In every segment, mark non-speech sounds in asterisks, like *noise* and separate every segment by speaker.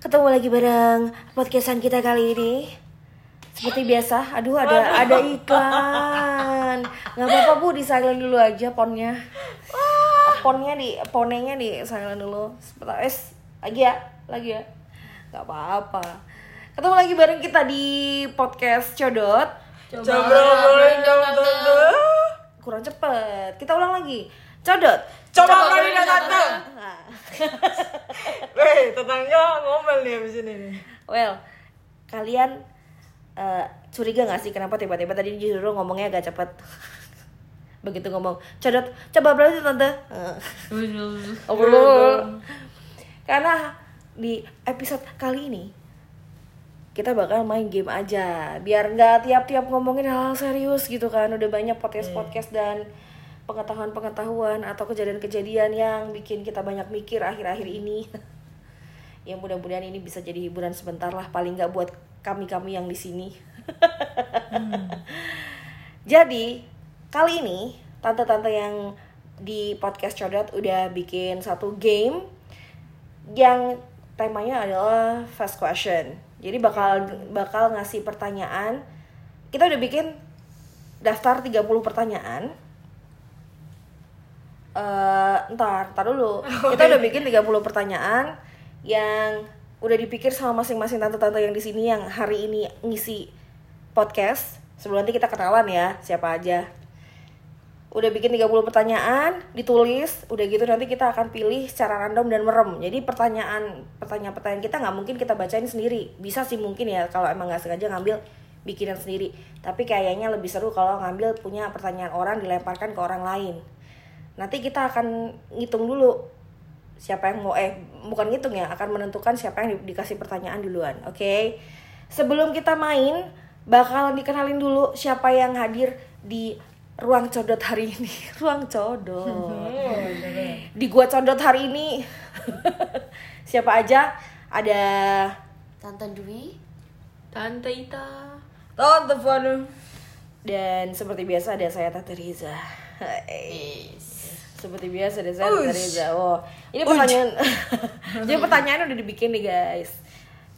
Speaker 1: Ketemu lagi bareng podcastan kita kali ini. Seperti biasa, aduh ada ada iklan. Nggak apa-apa bu, di silent dulu aja ponnya. Ponnya di ponenya di silent dulu. Sebentar, es lagi ya, lagi ya. Nggak apa-apa. Ketemu lagi bareng kita di podcast Codot.
Speaker 2: Combro ngobrolin dong tante
Speaker 1: Kurang cepet. Kita ulang lagi. Codot.
Speaker 2: Coba ngobrolin dong tante Weh tetangga ngomel nih abis ini nih
Speaker 1: Well, kalian eh, curiga gak sih kenapa tiba-tiba tadi justru ngomongnya agak cepet? *laughs* Begitu ngomong, codot, coba berarti tante. Eh, obrol. Karena di episode kali ini kita bakal main game aja biar nggak tiap-tiap ngomongin hal, serius gitu kan udah banyak podcast-podcast dan pengetahuan-pengetahuan atau kejadian-kejadian yang bikin kita banyak mikir akhir-akhir ini *laughs* ya mudah-mudahan ini bisa jadi hiburan sebentar lah paling nggak buat kami-kami yang di sini *laughs* jadi kali ini tante-tante yang di podcast Codot udah bikin satu game yang temanya adalah fast question. Jadi bakal bakal ngasih pertanyaan. Kita udah bikin daftar 30 pertanyaan. eh ntar, ntar dulu. Kita udah bikin 30 pertanyaan yang udah dipikir sama masing-masing tante-tante yang di sini yang hari ini ngisi podcast. Sebelum nanti kita kenalan ya, siapa aja udah bikin 30 pertanyaan, ditulis, udah gitu nanti kita akan pilih secara random dan merem. Jadi pertanyaan pertanyaan pertanyaan kita nggak mungkin kita bacain sendiri. Bisa sih mungkin ya kalau emang nggak sengaja ngambil bikinan sendiri. Tapi kayaknya lebih seru kalau ngambil punya pertanyaan orang dilemparkan ke orang lain. Nanti kita akan ngitung dulu siapa yang mau eh bukan ngitung ya akan menentukan siapa yang di- dikasih pertanyaan duluan oke sebelum kita main bakalan dikenalin dulu siapa yang hadir di ruang codot hari ini *laughs* ruang codot di gua codot hari ini *laughs* siapa aja ada
Speaker 3: Tante Dwi
Speaker 2: Tante Ita Tante Fanu
Speaker 1: dan seperti biasa ada saya Tante Riza seperti biasa ada saya Tante Riza wow ini pertanyaan *laughs* jadi pertanyaan udah dibikin nih guys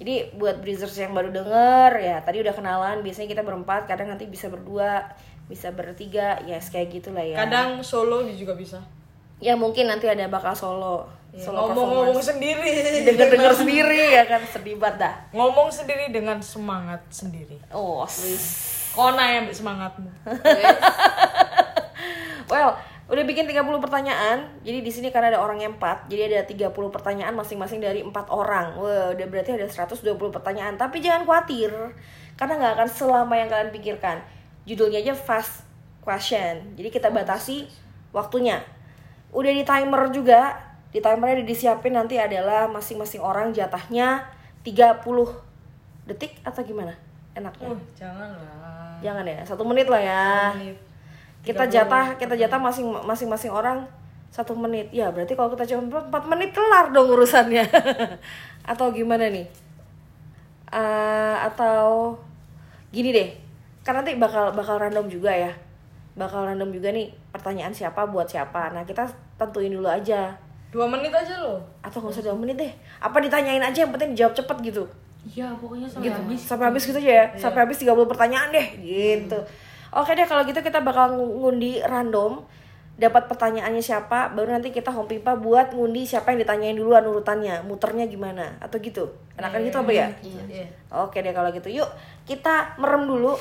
Speaker 1: jadi buat breezers yang baru denger ya tadi udah kenalan biasanya kita berempat kadang nanti bisa berdua bisa bertiga ya yes, kayak gitulah ya
Speaker 2: Kadang solo dia juga bisa
Speaker 1: ya mungkin nanti ada bakal solo solo
Speaker 2: Iya, Ngomong-ngomong
Speaker 1: performance
Speaker 2: sendiri
Speaker 1: denger denger sendiri ya kan sedih banget dah
Speaker 2: Ngomong sendiri dengan semangat sendiri
Speaker 1: oh
Speaker 2: Kona yang ambil semangatmu
Speaker 1: Well, udah bikin 30 pertanyaan. Jadi di sini karena ada orangnya 4, jadi ada 30 pertanyaan masing-masing dari empat orang. Wah, udah berarti ada 120 pertanyaan. Tapi jangan khawatir karena nggak akan selama yang kalian pikirkan. Judulnya aja fast question. Jadi kita batasi waktunya. Udah di timer juga. Di timernya udah disiapin nanti adalah masing-masing orang jatahnya 30 detik atau gimana? Enaknya.
Speaker 2: Uh jangan lah
Speaker 1: Jangan ya, Oh. satu menit lah ya kita jatah kita jatah masing masing masing orang satu menit ya berarti kalau kita cuma empat menit kelar dong urusannya *laughs* atau gimana nih Eh, atau gini deh kan nanti bakal bakal random juga ya bakal random juga nih pertanyaan siapa buat siapa nah kita tentuin dulu aja
Speaker 2: Dua menit aja loh
Speaker 1: atau nggak usah dua menit deh apa ditanyain aja yang penting dijawab cepet gitu
Speaker 3: Iya pokoknya sampai
Speaker 1: gitu
Speaker 3: habis
Speaker 1: sampai habis gitu aja
Speaker 2: Iya.
Speaker 1: ya sampai habis 30 pertanyaan deh gitu
Speaker 2: Hmm.
Speaker 1: oke deh kalau gitu kita bakal ngu- ngundi random dapat pertanyaannya siapa baru nanti kita home pipa buat ngundi siapa yang ditanyain duluan urutannya muternya gimana atau gitu enakan gitu apa ya
Speaker 2: Iya
Speaker 1: oke deh kalau gitu yuk kita merem dulu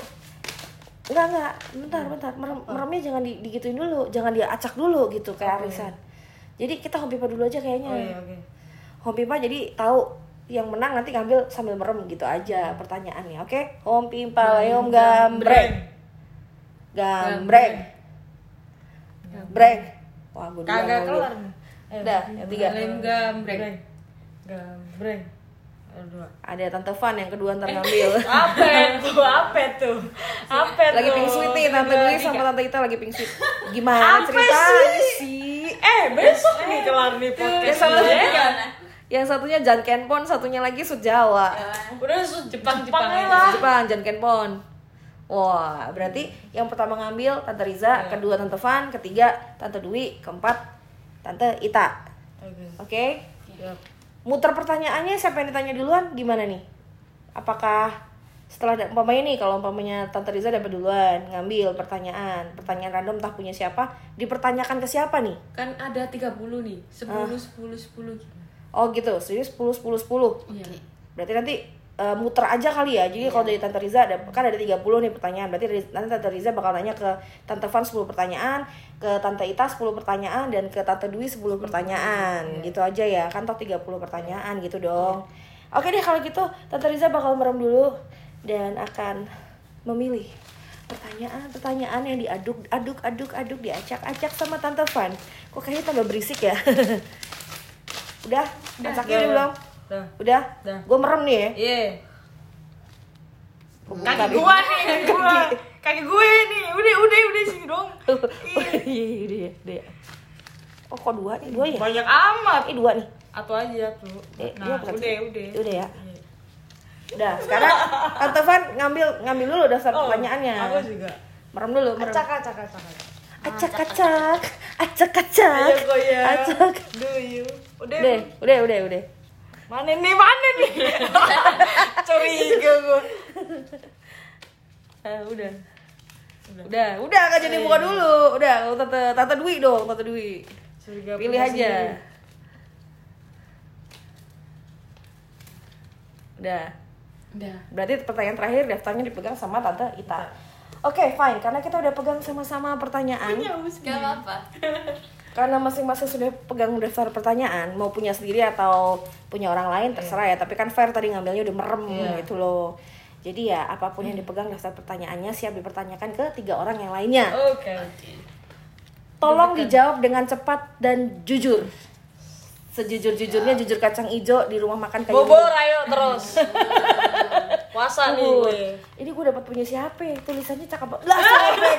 Speaker 1: Enggak, enggak, bentar,
Speaker 2: Iya.
Speaker 1: bentar. Merem,
Speaker 2: Oh.
Speaker 1: meremnya jangan di, digituin dulu, jangan diacak dulu gitu kayak arisan. Jadi kita home pipa dulu aja kayaknya.
Speaker 2: Oh iya oke
Speaker 1: Home Pimpa jadi tahu yang menang nanti ngambil sambil merem gitu aja pertanyaannya. Oke, Home Pimpa Leom gambreng. Gambreng. Breng. Wah, gue duluan
Speaker 2: Kagak
Speaker 1: lagi.
Speaker 2: kelar nih Eh,
Speaker 1: Udah, yang tiga.
Speaker 2: Lem gambreng Gambreng Ada dua
Speaker 1: Ada Tante Fan yang kedua ntar ngambil.
Speaker 2: *laughs* apa itu apa tuh apa
Speaker 1: lagi
Speaker 2: tuh
Speaker 1: pink sweet nih, Tante Dwi sama Tante Ita lagi pink sweet. Gimana
Speaker 2: Apa
Speaker 1: ceritanya
Speaker 2: sih?
Speaker 1: sih?
Speaker 2: eh besok nih kelar nih
Speaker 1: Yang
Speaker 2: podcast
Speaker 1: satunya,
Speaker 2: ya.
Speaker 1: yang satunya Jan Kenpon, satunya lagi Sud Jawa.
Speaker 2: udah sus Jepang Jepang
Speaker 1: Jepang, ya.
Speaker 2: lah
Speaker 1: Jepang, Jan Kenpon. Wah, berarti yang pertama ngambil Tante Riza, kedua Tante Van, ketiga Tante Dwi, keempat Tante Ita.
Speaker 2: Oke.
Speaker 1: Oke?
Speaker 2: Yap.
Speaker 1: muter pertanyaannya siapa yang ditanya duluan gimana nih apakah setelah da- umpamanya nih kalau umpamanya tante Riza dapat duluan ngambil pertanyaan pertanyaan random entah punya siapa dipertanyakan ke siapa nih
Speaker 4: Kan ada 30 nih. 10 10 10 gitu.
Speaker 1: oh gitu jadi 10 10 10
Speaker 4: Iya.
Speaker 1: Berarti nanti eh, muter aja kali ya. Jadi kalau dari Tante Riza ada kan ada 30 nih pertanyaan. Berarti dari- nanti Tante Riza bakal nanya ke Tante Van 10 pertanyaan, ke Tante Ita 10 pertanyaan dan ke Tante Dwi 10 pertanyaan. Gitu aja ya. Kan toh 30 pertanyaan gitu dong. Oke deh kalau gitu Tante Riza bakal merem dulu dan akan memilih pertanyaan-pertanyaan yang diaduk aduk aduk aduk diacak-acak sama Tante Van. Kok kayaknya tambah berisik ya? *laughs* Udah, acaknya udah belum?
Speaker 2: Udah.
Speaker 1: Udah?
Speaker 2: Udah.
Speaker 1: Gue merem nih ya.
Speaker 2: Nah, Iya.
Speaker 1: Bukan.
Speaker 2: Kaki gua nih, kaki gua. Kaki gue nih. Udah, udah, udah sini dong.
Speaker 1: *laughs* Iya, iya, iya, iya. Oh, kok dua nih? Dua ya?
Speaker 2: Banyak amat.
Speaker 1: Ini dua nih.
Speaker 2: Atau aja tuh.
Speaker 1: Eh,
Speaker 2: Iya. Nah,
Speaker 1: dua apa
Speaker 2: udah,
Speaker 1: satu?
Speaker 2: udah. Iya.
Speaker 1: Udah ya. Udah, sekarang Tante Van ngambil ngambil dulu dasar
Speaker 2: Oh,
Speaker 1: pertanyaannya.
Speaker 2: Aku juga.
Speaker 1: Merem dulu, merem.
Speaker 2: Acak, acak, acak. acak.
Speaker 1: Acak-acak. Acak-acak.
Speaker 2: Ayo goyang.
Speaker 1: Acak.
Speaker 2: Do you? Udah.
Speaker 1: Udah, udah, udah, udah.
Speaker 2: iya. Oh, Mana nih, mana *laughs* nih? Curiga gue.
Speaker 1: Eh, udah. Udah, udah gak jadi
Speaker 2: iya.
Speaker 1: buka dulu. Udah, kalau tante tante Dwi dong, tante Dwi.
Speaker 2: Curiga
Speaker 1: Pilih
Speaker 2: punya
Speaker 1: aja.
Speaker 2: sendiri.
Speaker 1: Udah.
Speaker 4: Udah.
Speaker 1: Berarti pertanyaan terakhir daftarnya dipegang sama Tante Ita. Oke, fine. Karena kita udah pegang sama-sama pertanyaan.
Speaker 2: Iya.
Speaker 4: Gak apa-apa.
Speaker 1: Karena masing-masing sudah pegang daftar pertanyaan, mau punya sendiri atau punya orang lain terserah ya. Tapi kan fair tadi ngambilnya udah merem gitu loh. Jadi ya apapun yang dipegang daftar pertanyaannya siap dipertanyakan ke tiga orang yang lainnya.
Speaker 2: Oke.
Speaker 1: Tolong dijawab dengan cepat dan jujur. Sejujur-jujurnya jujur kacang ijo di rumah makan kayu.
Speaker 2: Bobor ayo *laughs* terus. Puasa nih
Speaker 1: Bubur.
Speaker 2: gue.
Speaker 1: Ini gue dapat punya siapa? ya? Tulisannya cakep banget. Lah,
Speaker 2: *laughs*
Speaker 1: sobek.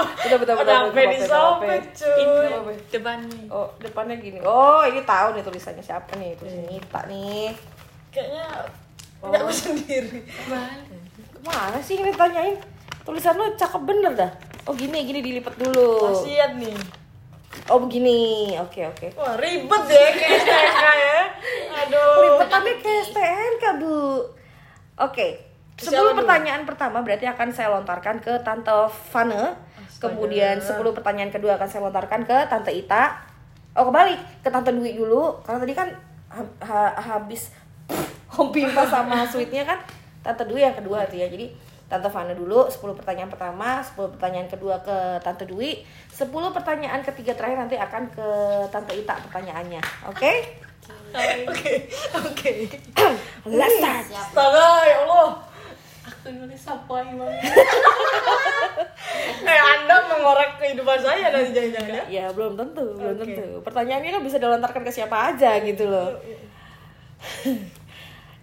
Speaker 1: Udah betul betul.
Speaker 2: Sampai disobek cuy.
Speaker 4: Depannya.
Speaker 1: Oh, depannya gini. Oh, ini tahu nih tulisannya siapa nih? Tulisannya
Speaker 2: Iya.
Speaker 1: Nita nih.
Speaker 2: Kayaknya punya gue sendiri.
Speaker 1: Kemana sih ini tanyain? Tulisan lo cakep bener dah. Oh, gini gini dilipat dulu.
Speaker 2: Kasian nih.
Speaker 1: Oh, begini. Oke, oke.
Speaker 2: Wah ribet deh kayak STNK *laughs* ya. Aduh.
Speaker 1: Lipatannya ke STNK, Bu. Oke. Sebelum pertanyaan pertama berarti akan saya lontarkan ke Tante Fane. Kemudian 10 pertanyaan kedua akan saya lontarkan ke Tante Ita. Oh, kebalik. Ke Tante Dwi dulu. Karena tadi kan ha- ha- habis *laughs* Hompimpa sama sweetnya kan Tante Dwi yang kedua tuh ya. Jadi Tante Fane dulu 10 pertanyaan pertama, 10 pertanyaan kedua ke Tante Dwi, 10 pertanyaan ketiga terakhir nanti akan ke Tante Ita pertanyaannya. Oke?
Speaker 2: Oke. Oke.
Speaker 1: Let's start.
Speaker 2: Astaga ya Allah.
Speaker 4: Aku nulis sampai banget.
Speaker 2: *laughs* Eh Anda mengorek kehidupan saya nanti jangan-jangan ya.
Speaker 1: Ya belum tentu, belum
Speaker 2: Oke.
Speaker 1: tentu. Pertanyaannya kan bisa dilontarkan ke siapa aja gitu loh.
Speaker 2: Iya,
Speaker 1: *laughs*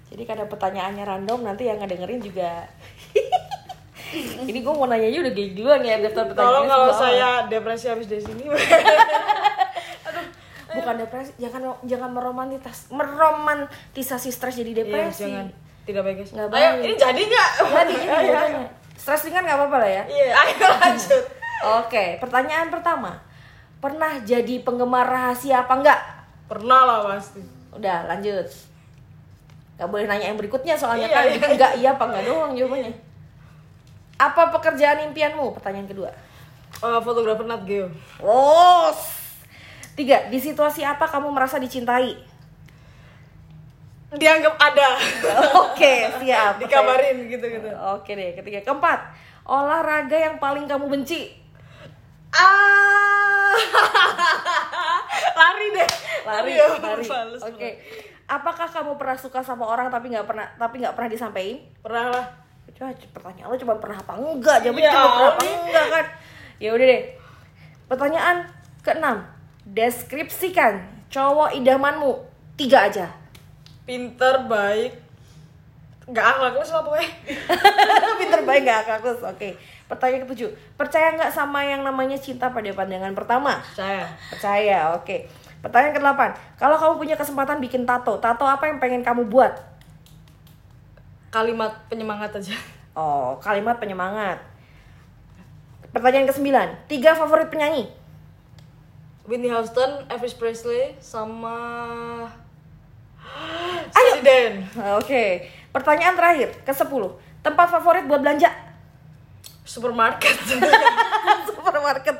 Speaker 1: Jadi karena pertanyaannya random nanti yang ngedengerin juga. *laughs* Ini gue mau nanya aja udah gini duluan ya daftar pertanyaan.
Speaker 2: Tolong kalau saya depresi habis dari sini.
Speaker 1: bukan depresi, jangan jangan meromantis meromantisasi stres jadi
Speaker 2: Iya,
Speaker 1: depresi.
Speaker 2: jangan. Tidak baik guys.
Speaker 1: Nggak
Speaker 2: Ayo,
Speaker 1: baik.
Speaker 2: ini jadi nggak?
Speaker 1: Jadi ini beneran. stres ringan nggak apa-apa lah ya.
Speaker 2: *laughs* Iya, ayo lanjut.
Speaker 1: Oke, pertanyaan pertama. Pernah jadi penggemar rahasia apa enggak?
Speaker 2: Pernah lah pasti.
Speaker 1: Udah lanjut Gak boleh nanya yang berikutnya soalnya
Speaker 2: Iya,
Speaker 1: kan
Speaker 2: iya.
Speaker 1: *laughs* Enggak iya apa enggak doang jawabannya Apa pekerjaan impianmu? Pertanyaan kedua
Speaker 2: Eh, fotografer Nat Geo.
Speaker 1: Los Tiga, di situasi apa kamu merasa dicintai? *laughs*
Speaker 2: Dianggap ada.
Speaker 1: Oke, siap
Speaker 2: Dikabarin gitu, gitu-gitu.
Speaker 1: Oke deh, ketiga Keempat, olahraga yang paling kamu benci?
Speaker 2: Ah. *laughs* lari deh.
Speaker 1: Lari,
Speaker 2: Aduh, ya
Speaker 1: lari.
Speaker 2: Iya, males.
Speaker 1: Oke Apakah kamu pernah suka sama orang tapi nggak pernah tapi nggak pernah disampaikan?
Speaker 2: Pernah lah.
Speaker 1: Coba pertanyaan lo cuma pernah apa enggak? Jawabnya
Speaker 2: Iya,
Speaker 1: cuma pernah apa
Speaker 2: Oli.
Speaker 1: enggak kan? Ya udah deh. Pertanyaan keenam. Deskripsikan cowok idamanmu. Tiga aja. *laughs*
Speaker 2: Pinter, baik. Gak akhlaknya lah pokoknya.
Speaker 1: Pinter baik gak kakus. Oke. Pertanyaan ketujuh. Percaya nggak sama yang namanya cinta pada pandangan pertama?
Speaker 2: Saya.
Speaker 1: Percaya. Oke. Pertanyaan kedelapan. Kalau kamu punya kesempatan bikin tato, tato apa yang pengen kamu buat?
Speaker 2: Kalimat penyemangat aja.
Speaker 1: Oh, kalimat penyemangat. Pertanyaan kesembilan. Tiga favorit penyanyi.
Speaker 2: Whitney Houston, Elvis Presley, sama *gasps* Steely Dan.
Speaker 1: Eh, Oke, pertanyaan terakhir ke 10 Tempat favorit buat belanja? *laughs*
Speaker 2: *laughs* Supermarket.
Speaker 1: Supermarket.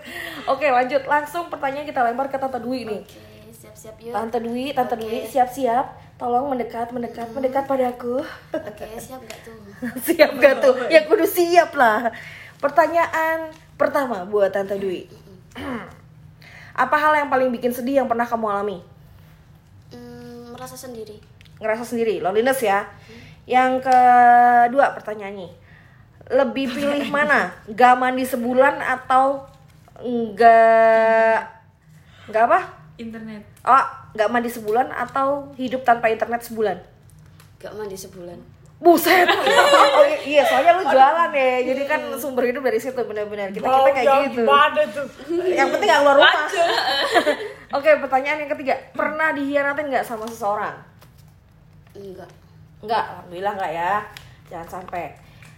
Speaker 1: Oke, lanjut langsung pertanyaan kita lempar ke Tante Dwi nih.
Speaker 3: Oke, siap-siap yuk.
Speaker 1: Tante Dwi, Tante
Speaker 3: Oke. Hmm.
Speaker 1: Dwi, siap-siap. Tolong mendekat, mendekat, mendekat padaku.
Speaker 3: Oke, siap gak tuh?
Speaker 1: *laughs* siap gak tuh? Ya kudu siap lah. Pertanyaan pertama buat Tante Dwi. *clears throat* Apa hal yang paling bikin sedih yang pernah kamu alami?
Speaker 3: Hmm, merasa sendiri.
Speaker 1: Ngerasa sendiri, loneliness ya. Yang kedua pertanyaannya. Lebih pilih mana? Gak mandi sebulan atau enggak enggak apa?
Speaker 4: internet
Speaker 1: Oh, gak mandi sebulan atau hidup tanpa internet sebulan?
Speaker 3: Gak mandi sebulan.
Speaker 1: Buset. *laughs* Oh, i- iya, soalnya lu jualan ya. Jadi kan sumber hidup dari situ benar-benar. Kita kita kayak
Speaker 2: Bau yang
Speaker 1: gitu.
Speaker 2: Gimana tuh?
Speaker 1: Yang penting gak keluar rumah. *laughs* Oke, pertanyaan yang ketiga. Pernah dihianatin nggak sama seseorang?
Speaker 3: Enggak.
Speaker 1: Enggak, alhamdulillah enggak ya. Jangan sampai.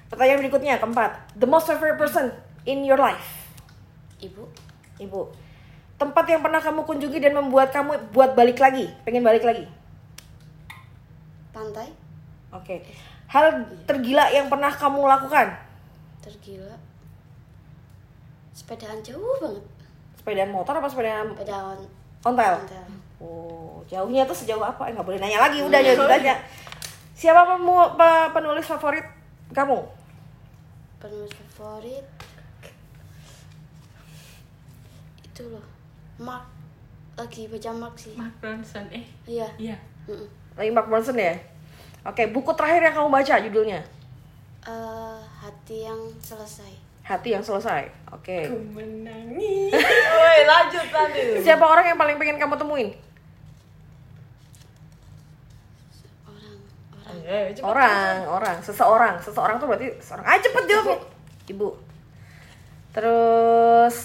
Speaker 1: Pertanyaan berikutnya keempat. The most favorite person in your life.
Speaker 3: Ibu,
Speaker 1: Ibu. Tempat yang pernah kamu kunjungi dan membuat kamu buat balik lagi, pengen balik lagi.
Speaker 3: pantai,
Speaker 1: Oke. Hal tergila yang pernah kamu lakukan?
Speaker 3: tergila. Sepedaan jauh banget.
Speaker 1: Sepedaan motor apa sepedaan
Speaker 3: Sepedaan
Speaker 1: ontel?
Speaker 3: pantai.
Speaker 1: Oh, jauhnya tuh sejauh apa? Eh, nggak boleh nanya lagi, udah jadi tanya. Siapa pemu- pe- penulis favorit kamu?
Speaker 3: Penulis favorit itu loh. Mark lagi baca Mark sih.
Speaker 4: Mark Bronson eh
Speaker 3: Iya.
Speaker 4: iya
Speaker 3: Mm-mm.
Speaker 1: Lagi Mark Bronson ya? Oke, buku terakhir yang kamu baca judulnya?
Speaker 3: Eh, hati yang selesai.
Speaker 1: Hati yang selesai. Oke.
Speaker 4: menangis
Speaker 2: Woi, lanjut lanjut. *laughs*
Speaker 1: Siapa orang yang paling pengen kamu temuin?
Speaker 3: Orang
Speaker 2: Eh, cepet.
Speaker 1: Orang, orang, seseorang. Seseorang tuh berarti seorang. Ah, cepet jawabnya. Ibu. Terus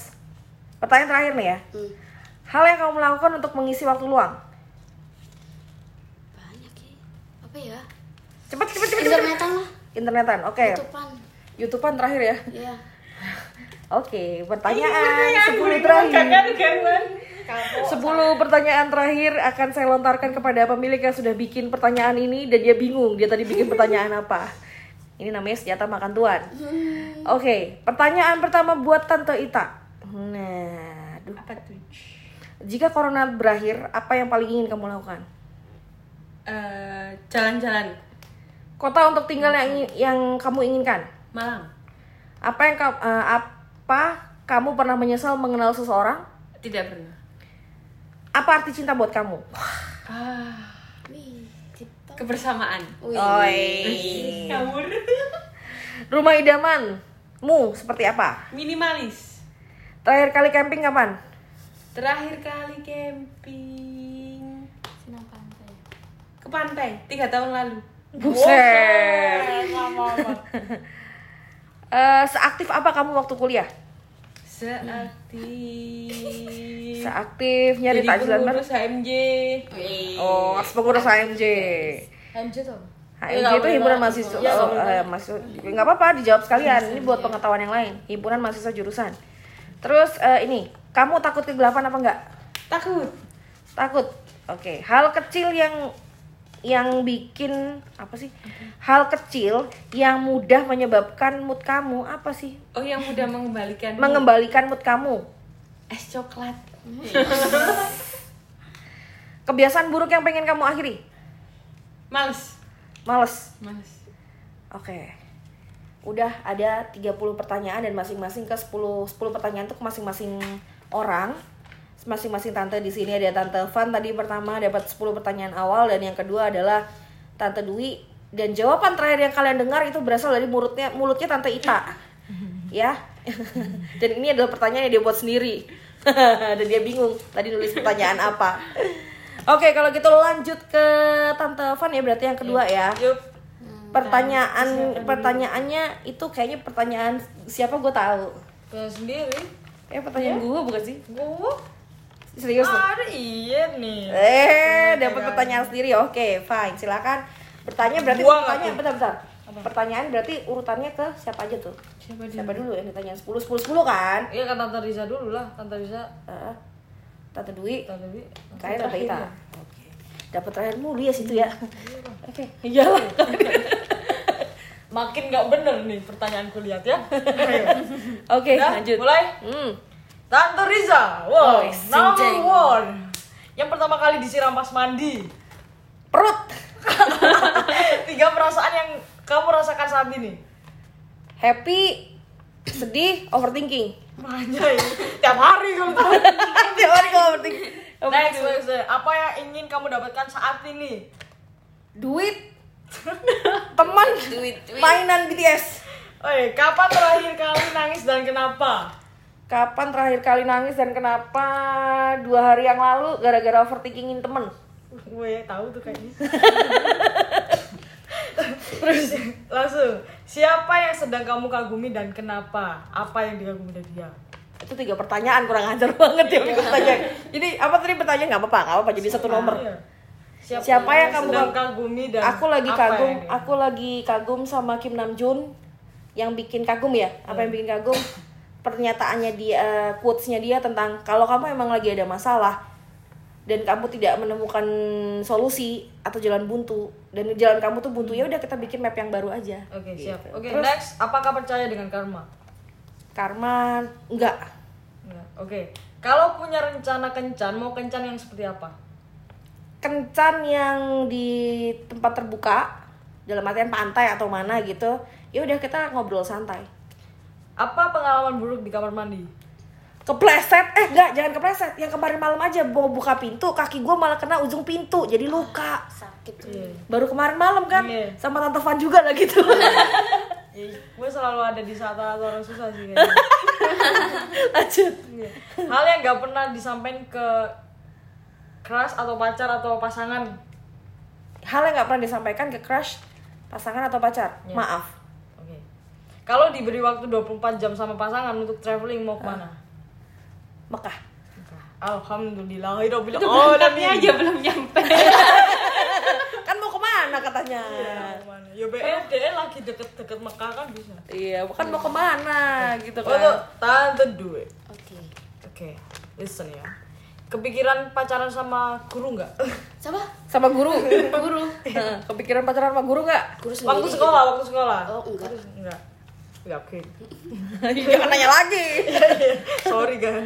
Speaker 1: pertanyaan terakhir nih ya.
Speaker 3: Hmm,
Speaker 1: Hal yang kamu lakukan untuk mengisi waktu luang?
Speaker 3: banyak ya. Apa ya?
Speaker 1: Cepet, cepet, cepet. cepet.
Speaker 3: Internetan lah.
Speaker 1: Internetan. Oke.
Speaker 3: Tutupan.
Speaker 1: YouTubean terakhir ya.
Speaker 3: Iya.
Speaker 1: Oke, pertanyaan 10 terakhir.
Speaker 4: Garwan
Speaker 1: 10 pertanyaan terakhir akan saya lontarkan kepada pemilik yang sudah bikin pertanyaan ini dan dia bingung dia tadi bikin pertanyaan apa. Ini namanya senjata makan tuan. Oke, pertanyaan pertama buat Tante Ita. Nah, aduh.
Speaker 4: apa tuh
Speaker 1: Jika corona berakhir, apa yang paling ingin kamu lakukan?
Speaker 4: Eh, jalan-jalan
Speaker 1: Kota untuk tinggal yang ingin- yang kamu inginkan.
Speaker 4: Malang
Speaker 1: Apa yang kamu apa kamu pernah menyesal mengenal seseorang?
Speaker 4: tidak pernah
Speaker 1: Apa arti cinta buat kamu?
Speaker 4: ah
Speaker 3: Wih, Oh, TikTok.
Speaker 4: kebersamaan
Speaker 3: Wih.
Speaker 1: Oi.
Speaker 4: kabur
Speaker 1: Rumah idamanmu seperti apa?
Speaker 4: *laughs* minimalis
Speaker 1: Terakhir kali camping kapan?
Speaker 4: terakhir kali camping
Speaker 3: Senang pantai.
Speaker 4: ke pantai tiga tahun lalu
Speaker 1: Buset.
Speaker 2: Eh, lama-lama.
Speaker 1: Eh, seaktif apa kamu waktu kuliah?
Speaker 4: seaktif
Speaker 1: Seaktif nyari
Speaker 4: jadi
Speaker 1: takjilan ber-
Speaker 4: pengurus HMJ
Speaker 1: Oh, as pengurus HMJ.
Speaker 4: HMJ tuh Ya,
Speaker 1: HMJ itu himpunan mahasiswa. Oh, eh, mahasiswa. Nggak apa-apa, dijawab sekalian. Ini
Speaker 4: Iya.
Speaker 1: buat pengetahuan yang lain. Himpunan mahasiswa jurusan. Terus eh, ini, kamu takut kegelapan apa enggak?
Speaker 4: takut
Speaker 1: Takut. Oke, hal kecil yang yang bikin apa sih? Hal kecil yang mudah menyebabkan mood kamu apa sih?
Speaker 4: oh yang mudah mengembalikan
Speaker 1: mengembalikan mood kamu.
Speaker 4: es coklat
Speaker 1: Kebiasaan buruk yang pengen kamu akhiri?
Speaker 4: males
Speaker 1: Males.
Speaker 4: males
Speaker 1: Oke. Udah ada 30 pertanyaan dan masing-masing ke 10 10 pertanyaan tuh ke masing-masing orang. Masing-masing tante di sini ada tante Van tadi pertama dapat 10 pertanyaan awal dan yang kedua adalah tante Dwi dan jawaban terakhir yang kalian dengar itu berasal dari mulutnya mulutnya tante Ita. ya. *laughs* dan ini adalah pertanyaan yang dia buat sendiri. *laughs* dan dia bingung tadi nulis pertanyaan apa. Oke, kalau gitu lanjut ke tante Van ya berarti yang kedua
Speaker 2: Iya.
Speaker 1: ya
Speaker 4: Yup.
Speaker 2: Hmm,
Speaker 1: pertanyaan pertanyaannya itu kayaknya pertanyaan siapa gue tahu
Speaker 2: Saya sendiri.
Speaker 1: eh pertanyaan
Speaker 2: Iya?
Speaker 1: gue bukan sih
Speaker 2: Gue
Speaker 1: serius loh.
Speaker 4: Ah,
Speaker 2: ada iya nih.
Speaker 1: eh dapat pertanyaan sendiri oke fine silakan bertanya berarti
Speaker 2: Gua
Speaker 1: pertanyaan
Speaker 2: nggak
Speaker 1: bentar bentar pertanyaan berarti urutannya ke siapa aja tuh
Speaker 4: siapa dia Ya,
Speaker 1: siapa dulu yang ditanya 10 10 10 kan
Speaker 2: Iya kan Tante Riza dulu lah, Tante Riza.
Speaker 1: Heeh. Tante Dwi,
Speaker 2: Tante Dwi.
Speaker 1: Kaya Tante
Speaker 2: Terakhir
Speaker 1: Ita.
Speaker 2: ya? Iya.
Speaker 1: Dapat terakhir mulu ya situ ya. Oke, iyalah.
Speaker 2: Makin nggak bener nih pertanyaan kulihat ya. *laughs* Ayo.
Speaker 1: Oke,
Speaker 2: Udah,
Speaker 1: lanjut.
Speaker 2: Mulai.
Speaker 1: Hmm.
Speaker 2: Tante Riza.
Speaker 1: Oh,
Speaker 2: Wow,
Speaker 1: sing
Speaker 2: number
Speaker 1: jeng.
Speaker 2: one. Yang pertama kali disiram pas mandi. *laughs*
Speaker 1: Perut,
Speaker 2: Tiga perasaan yang kamu rasakan saat ini.
Speaker 1: happy, sedih, *laughs* overthinking.
Speaker 2: Anjay, tiap hari kalau tahu.
Speaker 1: Tiap hari kalau overthinking.
Speaker 2: Next, next, next. apa yang ingin kamu dapatkan saat ini?
Speaker 1: Duit, teman,
Speaker 4: Duit, duit.
Speaker 1: mainan BTS.
Speaker 2: Oi, kapan terakhir kali nangis dan kenapa?
Speaker 1: Kapan terakhir kali nangis dan kenapa dua hari yang lalu gara-gara overthinkingin temen?
Speaker 2: Gue ya tahu tuh
Speaker 1: *laughs*
Speaker 2: kayaknya. Terus langsung, siapa yang sedang kamu kagumi dan kenapa? Apa yang dikagumi dari dia?
Speaker 1: Itu tiga pertanyaan kurang ajar *laughs* banget ya minggu pertanyaan. Ini apa tadi pertanyaan nggak apa-apa, nggak apa-apa jadi satu nomor.
Speaker 2: Iya. Siapa,
Speaker 1: Siapa yang kamu
Speaker 2: sedang
Speaker 1: kag-
Speaker 2: kagumi dan
Speaker 1: Aku lagi
Speaker 2: Iya. apa
Speaker 1: kagum,
Speaker 2: yang dia-
Speaker 1: aku lagi kagum sama Kim Namjoon yang bikin kagum ya. Apa
Speaker 2: Hmm.
Speaker 1: yang bikin kagum? Pernyataannya dia, eh, quotes-nya dia tentang kalau kamu emang lagi ada masalah dan kamu tidak menemukan solusi atau jalan buntu dan jalan kamu tuh buntu ya udah kita bikin map yang baru aja.
Speaker 2: Oke, siap.
Speaker 1: Gitu.
Speaker 2: Oke, nah.
Speaker 1: Terus-
Speaker 2: next, apakah percaya dengan karma?
Speaker 1: Karma enggak.
Speaker 2: Enggak. Oke. Kalau punya rencana kencan, mau kencan yang seperti apa?
Speaker 1: Kencan yang di tempat terbuka dalam artian pantai atau mana gitu. Ya udah kita ngobrol santai.
Speaker 2: Apa pengalaman buruk di kamar mandi?
Speaker 1: Kepleset, eh enggak, jangan kepleset. Yang kemarin malam aja mau buka pintu, kaki gua malah kena ujung pintu, jadi luka.
Speaker 3: sakit tuh
Speaker 2: Iya.
Speaker 1: Baru kemarin malam kan,
Speaker 2: Iya.
Speaker 1: sama tante Van juga lah
Speaker 4: *laughs*
Speaker 1: gitu.
Speaker 2: Gue Iya. selalu ada di saat orang susah
Speaker 1: *laughs*
Speaker 2: sih kayaknya.
Speaker 1: Lanjut.
Speaker 2: Iya. *laughs* Hal yang gak pernah disampaikan ke keras atau pacar atau pasangan.
Speaker 1: Hal yang nggak pernah disampaikan ke crush, pasangan atau pacar.
Speaker 2: Iya.
Speaker 1: Maaf.
Speaker 2: Oke. Kalau diberi waktu 24 jam sama pasangan untuk traveling mau kemana?
Speaker 1: Mekah.
Speaker 2: Alhamdulillah, Oh,
Speaker 4: Tapi aja belum nyampe.
Speaker 1: *laughs* Kan mau kemana katanya?
Speaker 2: Ya BLDL lagi deket-deket Mekah kan bisa.
Speaker 1: Iya, bukan mau kemana gitu kan.
Speaker 2: Untuk tante duit.
Speaker 3: oke
Speaker 2: Oke, listen ya. Kepikiran pacaran sama guru *laughs* nggak?
Speaker 3: siapa
Speaker 1: sama
Speaker 4: *laughs*
Speaker 1: guru guru Heeh, kepikiran pacaran sama guru nggak *laughs*
Speaker 3: guru sendiri
Speaker 2: waktu sekolah, waktu sekolah.
Speaker 3: oh enggak
Speaker 2: Enggak. Enggak, oke.
Speaker 1: jangan nanya lagi
Speaker 2: Sorry kan.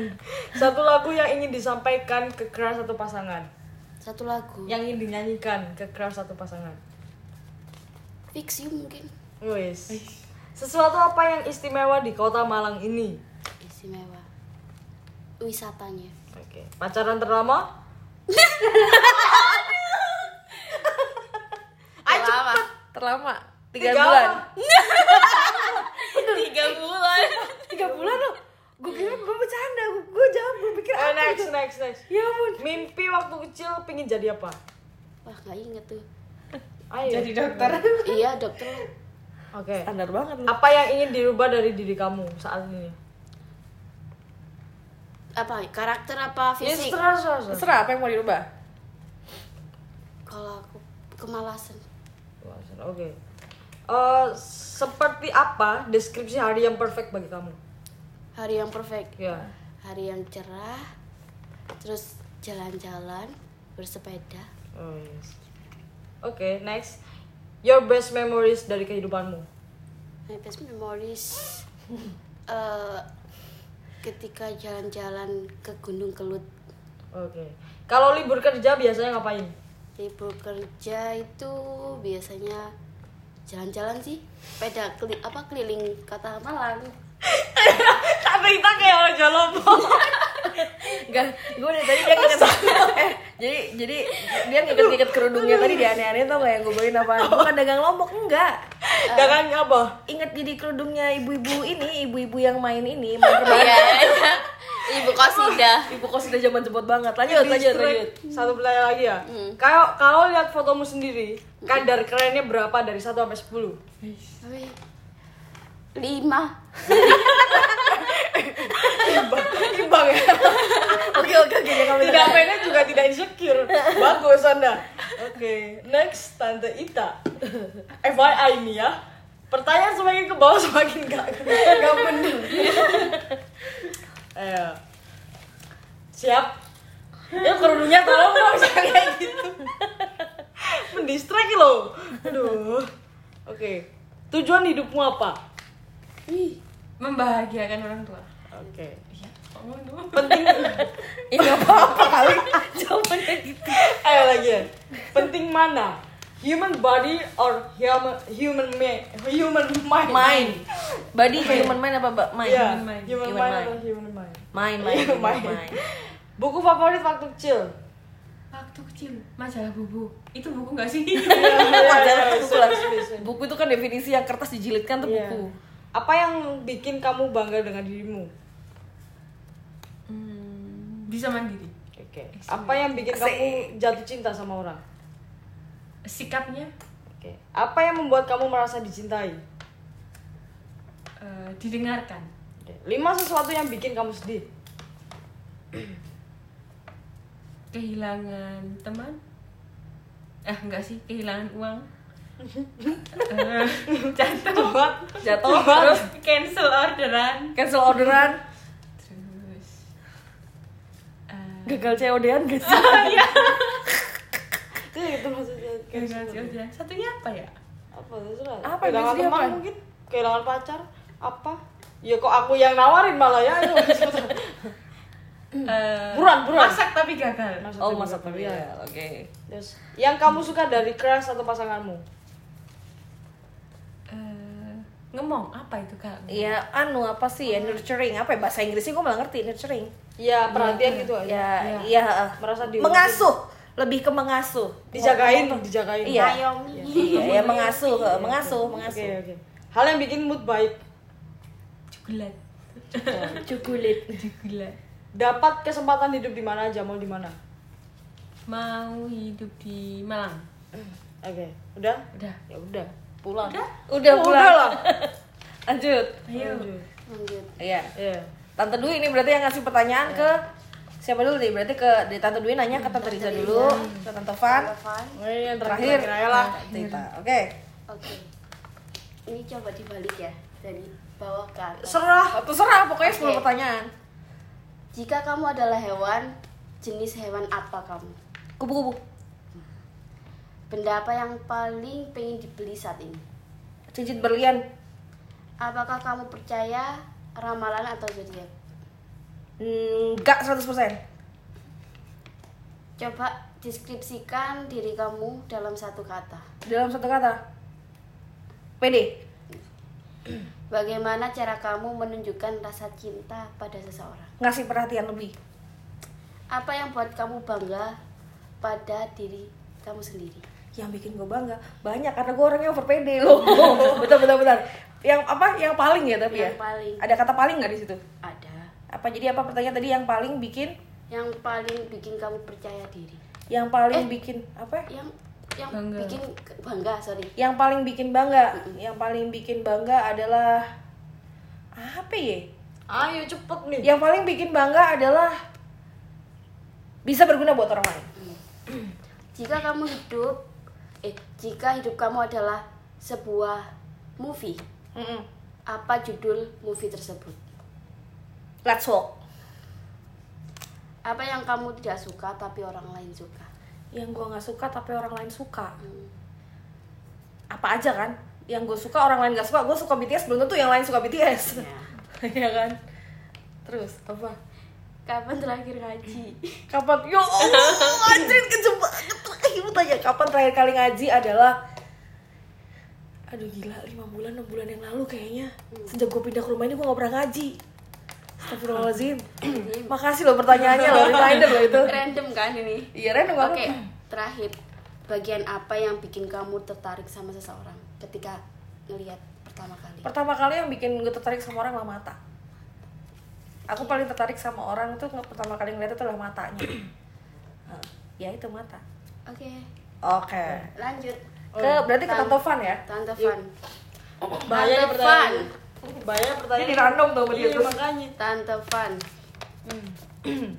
Speaker 2: Satu lagu yang ingin disampaikan ke keras satu pasangan.
Speaker 3: satu lagu
Speaker 2: Yang ingin dinyanyikan ke keras satu pasangan.
Speaker 3: fix you mungkin
Speaker 2: Wis. Sesuatu apa yang istimewa di kota Malang ini?
Speaker 3: istimewa wisatanya
Speaker 2: Oke. Pacaran
Speaker 4: *laughs*
Speaker 2: terlama? Ayo
Speaker 4: Lama.
Speaker 1: terlama tiga, bulan
Speaker 4: Tiga bulan.
Speaker 1: tiga bulan loh gue kira gue bercanda gue jawab gue pikir
Speaker 2: *laughs* Eh,
Speaker 1: apa
Speaker 2: next,
Speaker 1: gitu.
Speaker 2: next, next.
Speaker 1: ya ampun
Speaker 2: Mimpi waktu kecil pingin jadi apa?
Speaker 3: wah nggak inget *laughs* tuh
Speaker 2: Ayo.
Speaker 4: Jadi dokter.
Speaker 3: iya dokter lah.
Speaker 2: Oke.
Speaker 1: standar banget lu
Speaker 2: Apa yang ingin dirubah dari diri kamu saat ini?
Speaker 3: apa karakter apa fisik
Speaker 2: Ya, serah, serah, serah.
Speaker 1: terserah apa yang mau dirubah
Speaker 3: kalau aku kemalasan
Speaker 2: Wah, serah, Oke. Eh, seperti apa deskripsi hari yang perfect bagi kamu?
Speaker 3: hari yang perfect
Speaker 2: Ya.
Speaker 3: hari yang cerah terus jalan-jalan bersepeda
Speaker 2: Oh, yes. Oke, next. Your best memories dari kehidupanmu.
Speaker 3: my best memories *laughs* eh, ketika jalan-jalan ke Gunung Kelut
Speaker 2: Oke. Kalau libur kerja biasanya ngapain?
Speaker 3: libur kerja itu biasanya jalan-jalan sih sepeda keli apa keliling kota Malang
Speaker 2: Tante kita kayak orang
Speaker 1: *laughs*
Speaker 2: jalopo.
Speaker 1: Enggak, gue dari tadi dia ngikat eh, jadi jadi dia ngikat-ngikat kerudungnya tadi dia aneh-aneh tau gak yang gue bawain apa bukan dagang lombok enggak
Speaker 2: Jangan apa?
Speaker 1: inget jadi kerudungnya ibu-ibu ini ibu-ibu yang main ini main terbang
Speaker 3: Ya,
Speaker 4: Iya.
Speaker 3: *laughs*
Speaker 4: Ibu kosida.
Speaker 1: ibu kos udah zaman jebot banget lanjut lanjut
Speaker 2: Distract.
Speaker 1: lanjut Hmm.
Speaker 2: Satu pertanyaan lagi ya. Kalau kalau lihat fotomu sendiri, kadar kerennya berapa dari 1 sampai 10?
Speaker 3: Wih. lima
Speaker 2: Imbang ya.
Speaker 1: oke oke oke jangan
Speaker 2: tidak mainnya juga tidak insecure bagus anda oke next tante Ita FYI nih ya pertanyaan semakin ke bawah semakin gak gak bener eh, siap ya kerudungnya tolong dong *laughs* jangan kayak gitu mendistrek loh aduh oke tujuan hidupmu apa
Speaker 4: Ih, membahagiakan orang tua.
Speaker 2: oke
Speaker 4: Ngomong dulu.
Speaker 2: penting
Speaker 1: ya nggak apa-apa kali *laughs* jawabannya gitu
Speaker 2: ayo lagi ya. penting mana human body or human human ma- human mind
Speaker 1: main body human mind apa ba- mind
Speaker 2: Iya,
Speaker 1: Human mind.
Speaker 2: human,
Speaker 1: Human
Speaker 2: mind
Speaker 1: mind.
Speaker 2: atau human mind
Speaker 1: main main
Speaker 2: Iya,
Speaker 1: human
Speaker 2: *laughs* main.
Speaker 1: mind.
Speaker 2: buku favorit waktu kecil
Speaker 4: Waktu kecil, majalah bubu. Itu buku gak sih?
Speaker 1: Majalah
Speaker 2: iya,
Speaker 1: buku lah.
Speaker 2: iya, iya, iya.
Speaker 1: buku itu kan definisi yang kertas dijilidkan tuh
Speaker 2: Iya.
Speaker 1: buku
Speaker 2: apa yang bikin kamu bangga dengan dirimu
Speaker 4: *laughs* Bisa mandiri.
Speaker 2: Oke. Apa yang bikin kamu jatuh cinta sama orang?
Speaker 4: Sikapnya
Speaker 2: Oke. Apa yang membuat kamu merasa dicintai?
Speaker 4: eh, didengarkan.
Speaker 2: Oke. Lima sesuatu yang bikin kamu sedih.
Speaker 4: Kehilangan teman. Ah, enggak sih, kehilangan uang. Eh, *laughs* jatuh.
Speaker 2: Coba.
Speaker 1: jatuh
Speaker 4: Terus cancel orderan.
Speaker 1: Iya. cancel orderan
Speaker 4: Terus eh,
Speaker 1: gagal COD-an *laughs* gak sih?
Speaker 2: Itu *laughs* itu maksudnya.
Speaker 4: gagal
Speaker 2: gitu.
Speaker 4: sih orderan. Satunya apa ya?
Speaker 2: Apa terserah.
Speaker 1: Apa yang
Speaker 2: Kehilangan
Speaker 1: sedih
Speaker 2: teman
Speaker 1: apa?
Speaker 2: mungkin? Kehilangan pacar? Apa? Ya kok aku yang nawarin malah ya.
Speaker 1: *laughs*
Speaker 2: Ayo, cepetan.
Speaker 4: Eh,
Speaker 2: Buruan, buruan.
Speaker 4: Masak tapi gagal.
Speaker 1: oh
Speaker 2: Maksudnya
Speaker 1: masa
Speaker 2: gitu,
Speaker 1: kuliah oke
Speaker 2: Terus, yang kamu suka dari crush atau pasanganmu?
Speaker 4: Eh, ngomong apa itu kak?
Speaker 1: Iya, anu apa sih ya nurturing apa ya bahasa Inggrisnya gue malah ngerti nurturing.
Speaker 2: Ya perhatian gitu aja.
Speaker 1: Ya,
Speaker 4: Iya.
Speaker 1: iya.
Speaker 2: Merasa diurus.
Speaker 1: mengasuh, lebih ke mengasuh.
Speaker 2: Dijagain, dijagain.
Speaker 1: Iya.
Speaker 3: Naomi.
Speaker 1: Iya, ya mengasuh, eh, mengasuh,
Speaker 2: Oke,
Speaker 1: mengasuh.
Speaker 2: oke. Hal yang bikin mood baik
Speaker 4: Cukulat. *laughs*
Speaker 1: Cukulit.
Speaker 4: Cukulat.
Speaker 2: dapat kesempatan hidup di mana aja mau di mana
Speaker 4: Mau hidup di Malang.
Speaker 2: oke udah
Speaker 4: Udah.
Speaker 2: ya udah pulang udah
Speaker 1: Udah
Speaker 2: Oh,
Speaker 1: pulang.
Speaker 2: udah lah
Speaker 1: *laughs* Lanjut.
Speaker 4: Ayo.
Speaker 3: Lanjut.
Speaker 1: Iya.
Speaker 2: ya
Speaker 1: Tante Dwi ini berarti yang ngasih pertanyaan ke siapa dulu nih? Berarti ke dari Tante Dwi nanya ke Tante Riza dulu, ke Tante Van,
Speaker 3: Evan.
Speaker 1: Iya,
Speaker 2: ini yang
Speaker 1: terakhir
Speaker 2: terakhir aja lah
Speaker 1: Tita. Oke.
Speaker 3: Oke. Ini coba dibalik ya dari bawah ke atas.
Speaker 1: Serah, terserah pokoknya 10
Speaker 3: Oke.
Speaker 1: pertanyaan.
Speaker 3: Jika kamu adalah hewan, jenis hewan apa kamu?
Speaker 1: Kupu-kupu.
Speaker 3: Benda apa yang paling pengen dibeli saat ini?
Speaker 1: Cincin berlian.
Speaker 3: Apakah kamu percaya ramalan atau zodiak?
Speaker 1: Hmm, Enggak 100%.
Speaker 3: Coba deskripsikan diri kamu dalam satu kata.
Speaker 1: Dalam satu kata. PD.
Speaker 3: Bagaimana cara kamu menunjukkan rasa cinta pada seseorang?
Speaker 1: Ngasih perhatian lebih.
Speaker 3: Apa yang buat kamu bangga pada diri kamu sendiri?
Speaker 1: yang bikin gue bangga banyak karena gue orangnya over *laughs* pede loh betul betul betul yang apa yang paling ya tapi
Speaker 3: Yang
Speaker 1: ya
Speaker 3: paling.
Speaker 1: ada kata paling nggak di situ
Speaker 3: Ada.
Speaker 1: apa jadi apa pertanyaan tadi yang paling bikin
Speaker 3: Yang paling bikin kamu percaya diri.
Speaker 1: yang paling bikin apa ya?
Speaker 3: Yang yang
Speaker 4: Bangga.
Speaker 3: bikin ke- bangga, sorry.
Speaker 1: yang paling bikin bangga yang paling bikin bangga adalah apa ya
Speaker 2: ayo cepet nih
Speaker 1: yang paling bikin bangga adalah bisa berguna buat orang lain
Speaker 3: Jika kamu hidup eh jika hidup kamu adalah sebuah movie,
Speaker 1: Mm-mm.
Speaker 3: apa judul movie tersebut?
Speaker 1: let's walk
Speaker 3: Apa yang kamu tidak suka tapi orang lain suka?
Speaker 1: yang gue nggak suka tapi orang lain suka
Speaker 3: Hmm.
Speaker 1: apa aja kan yang gue suka orang lain gak suka gue suka BTS belum tentu yang lain suka BTS
Speaker 3: Ya.
Speaker 1: *laughs* ya kan terus apa
Speaker 3: Kapan terakhir ngaji?
Speaker 1: kapan yo Allah, anjing kejebak Eh, ibu tanya kapan terakhir kali ngaji adalah aduh gila lima bulan enam bulan yang lalu kayaknya sejak gue pindah ke rumah ini gue gak pernah ngaji Astagfirullahaladzim Makasih loh pertanyaannya loh, reminder loh itu
Speaker 3: Random kan ini?
Speaker 1: Iya Ren,
Speaker 3: Oke,
Speaker 1: apa
Speaker 3: terakhir bagian apa yang bikin kamu tertarik sama seseorang ketika ngelihat pertama kali?
Speaker 1: pertama kali yang bikin gue tertarik sama orang adalah mata aku paling tertarik sama orang tuh nge- pertama kali ngeliat itu adalah matanya Nah, ya itu mata
Speaker 3: Oke,
Speaker 1: oke
Speaker 3: lanjut.
Speaker 1: ke
Speaker 3: Iya.
Speaker 1: berarti ke Tante Van ya
Speaker 3: Tante Van.
Speaker 2: bahaya
Speaker 3: Tante
Speaker 2: pertanyaan
Speaker 3: Van.
Speaker 2: bahaya pertanyaan
Speaker 1: Ini random tuh sama dia
Speaker 2: Iya,
Speaker 1: tuh.
Speaker 2: makanya
Speaker 3: Tante Van.
Speaker 1: Hmm. *clears throat*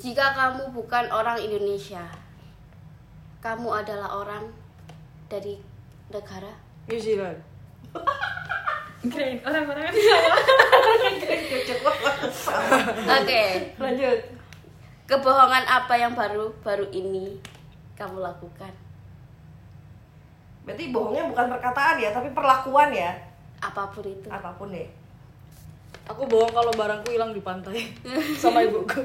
Speaker 3: Jika kamu bukan orang Indonesia, kamu adalah orang dari negara.
Speaker 2: New Zealand
Speaker 4: Kirain *laughs* orang-orang kan salah.
Speaker 3: Oke,
Speaker 1: lanjut
Speaker 3: Kebohongan apa yang baru-baru ini kamu lakukan?
Speaker 1: Berarti bohongnya bukan perkataan ya, tapi perlakuan ya.
Speaker 3: Apapun itu.
Speaker 1: Apapun deh.
Speaker 2: Aku bohong kalau barangku hilang di *laughs* pantai sama ibuku.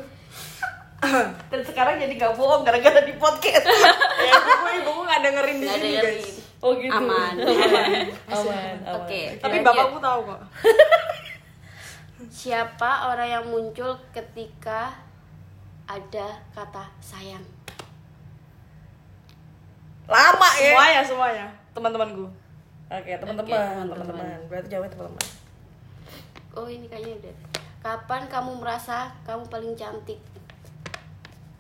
Speaker 1: Dan sekarang jadi gak bohong gara-gara di *laughs* podcast.
Speaker 2: ya, ibuku ibuku nggak dengerin di
Speaker 3: Nggak ya.
Speaker 2: sini
Speaker 3: dengerin.
Speaker 2: guys. Oh gitu.
Speaker 3: Aman.
Speaker 4: Aman, aman.
Speaker 3: Oke.
Speaker 2: Tapi
Speaker 3: lanjut.
Speaker 2: bapakku tahu kok.
Speaker 3: Siapa orang yang muncul ketika ada kata sayang?
Speaker 1: Lama ya.
Speaker 2: Semuanya semuanya teman-temanku.
Speaker 1: Oke, teman-teman, teman-teman. Berarti jawabnya teman-teman.
Speaker 3: Oh ini kayaknya udah. Kapan kamu merasa kamu paling cantik?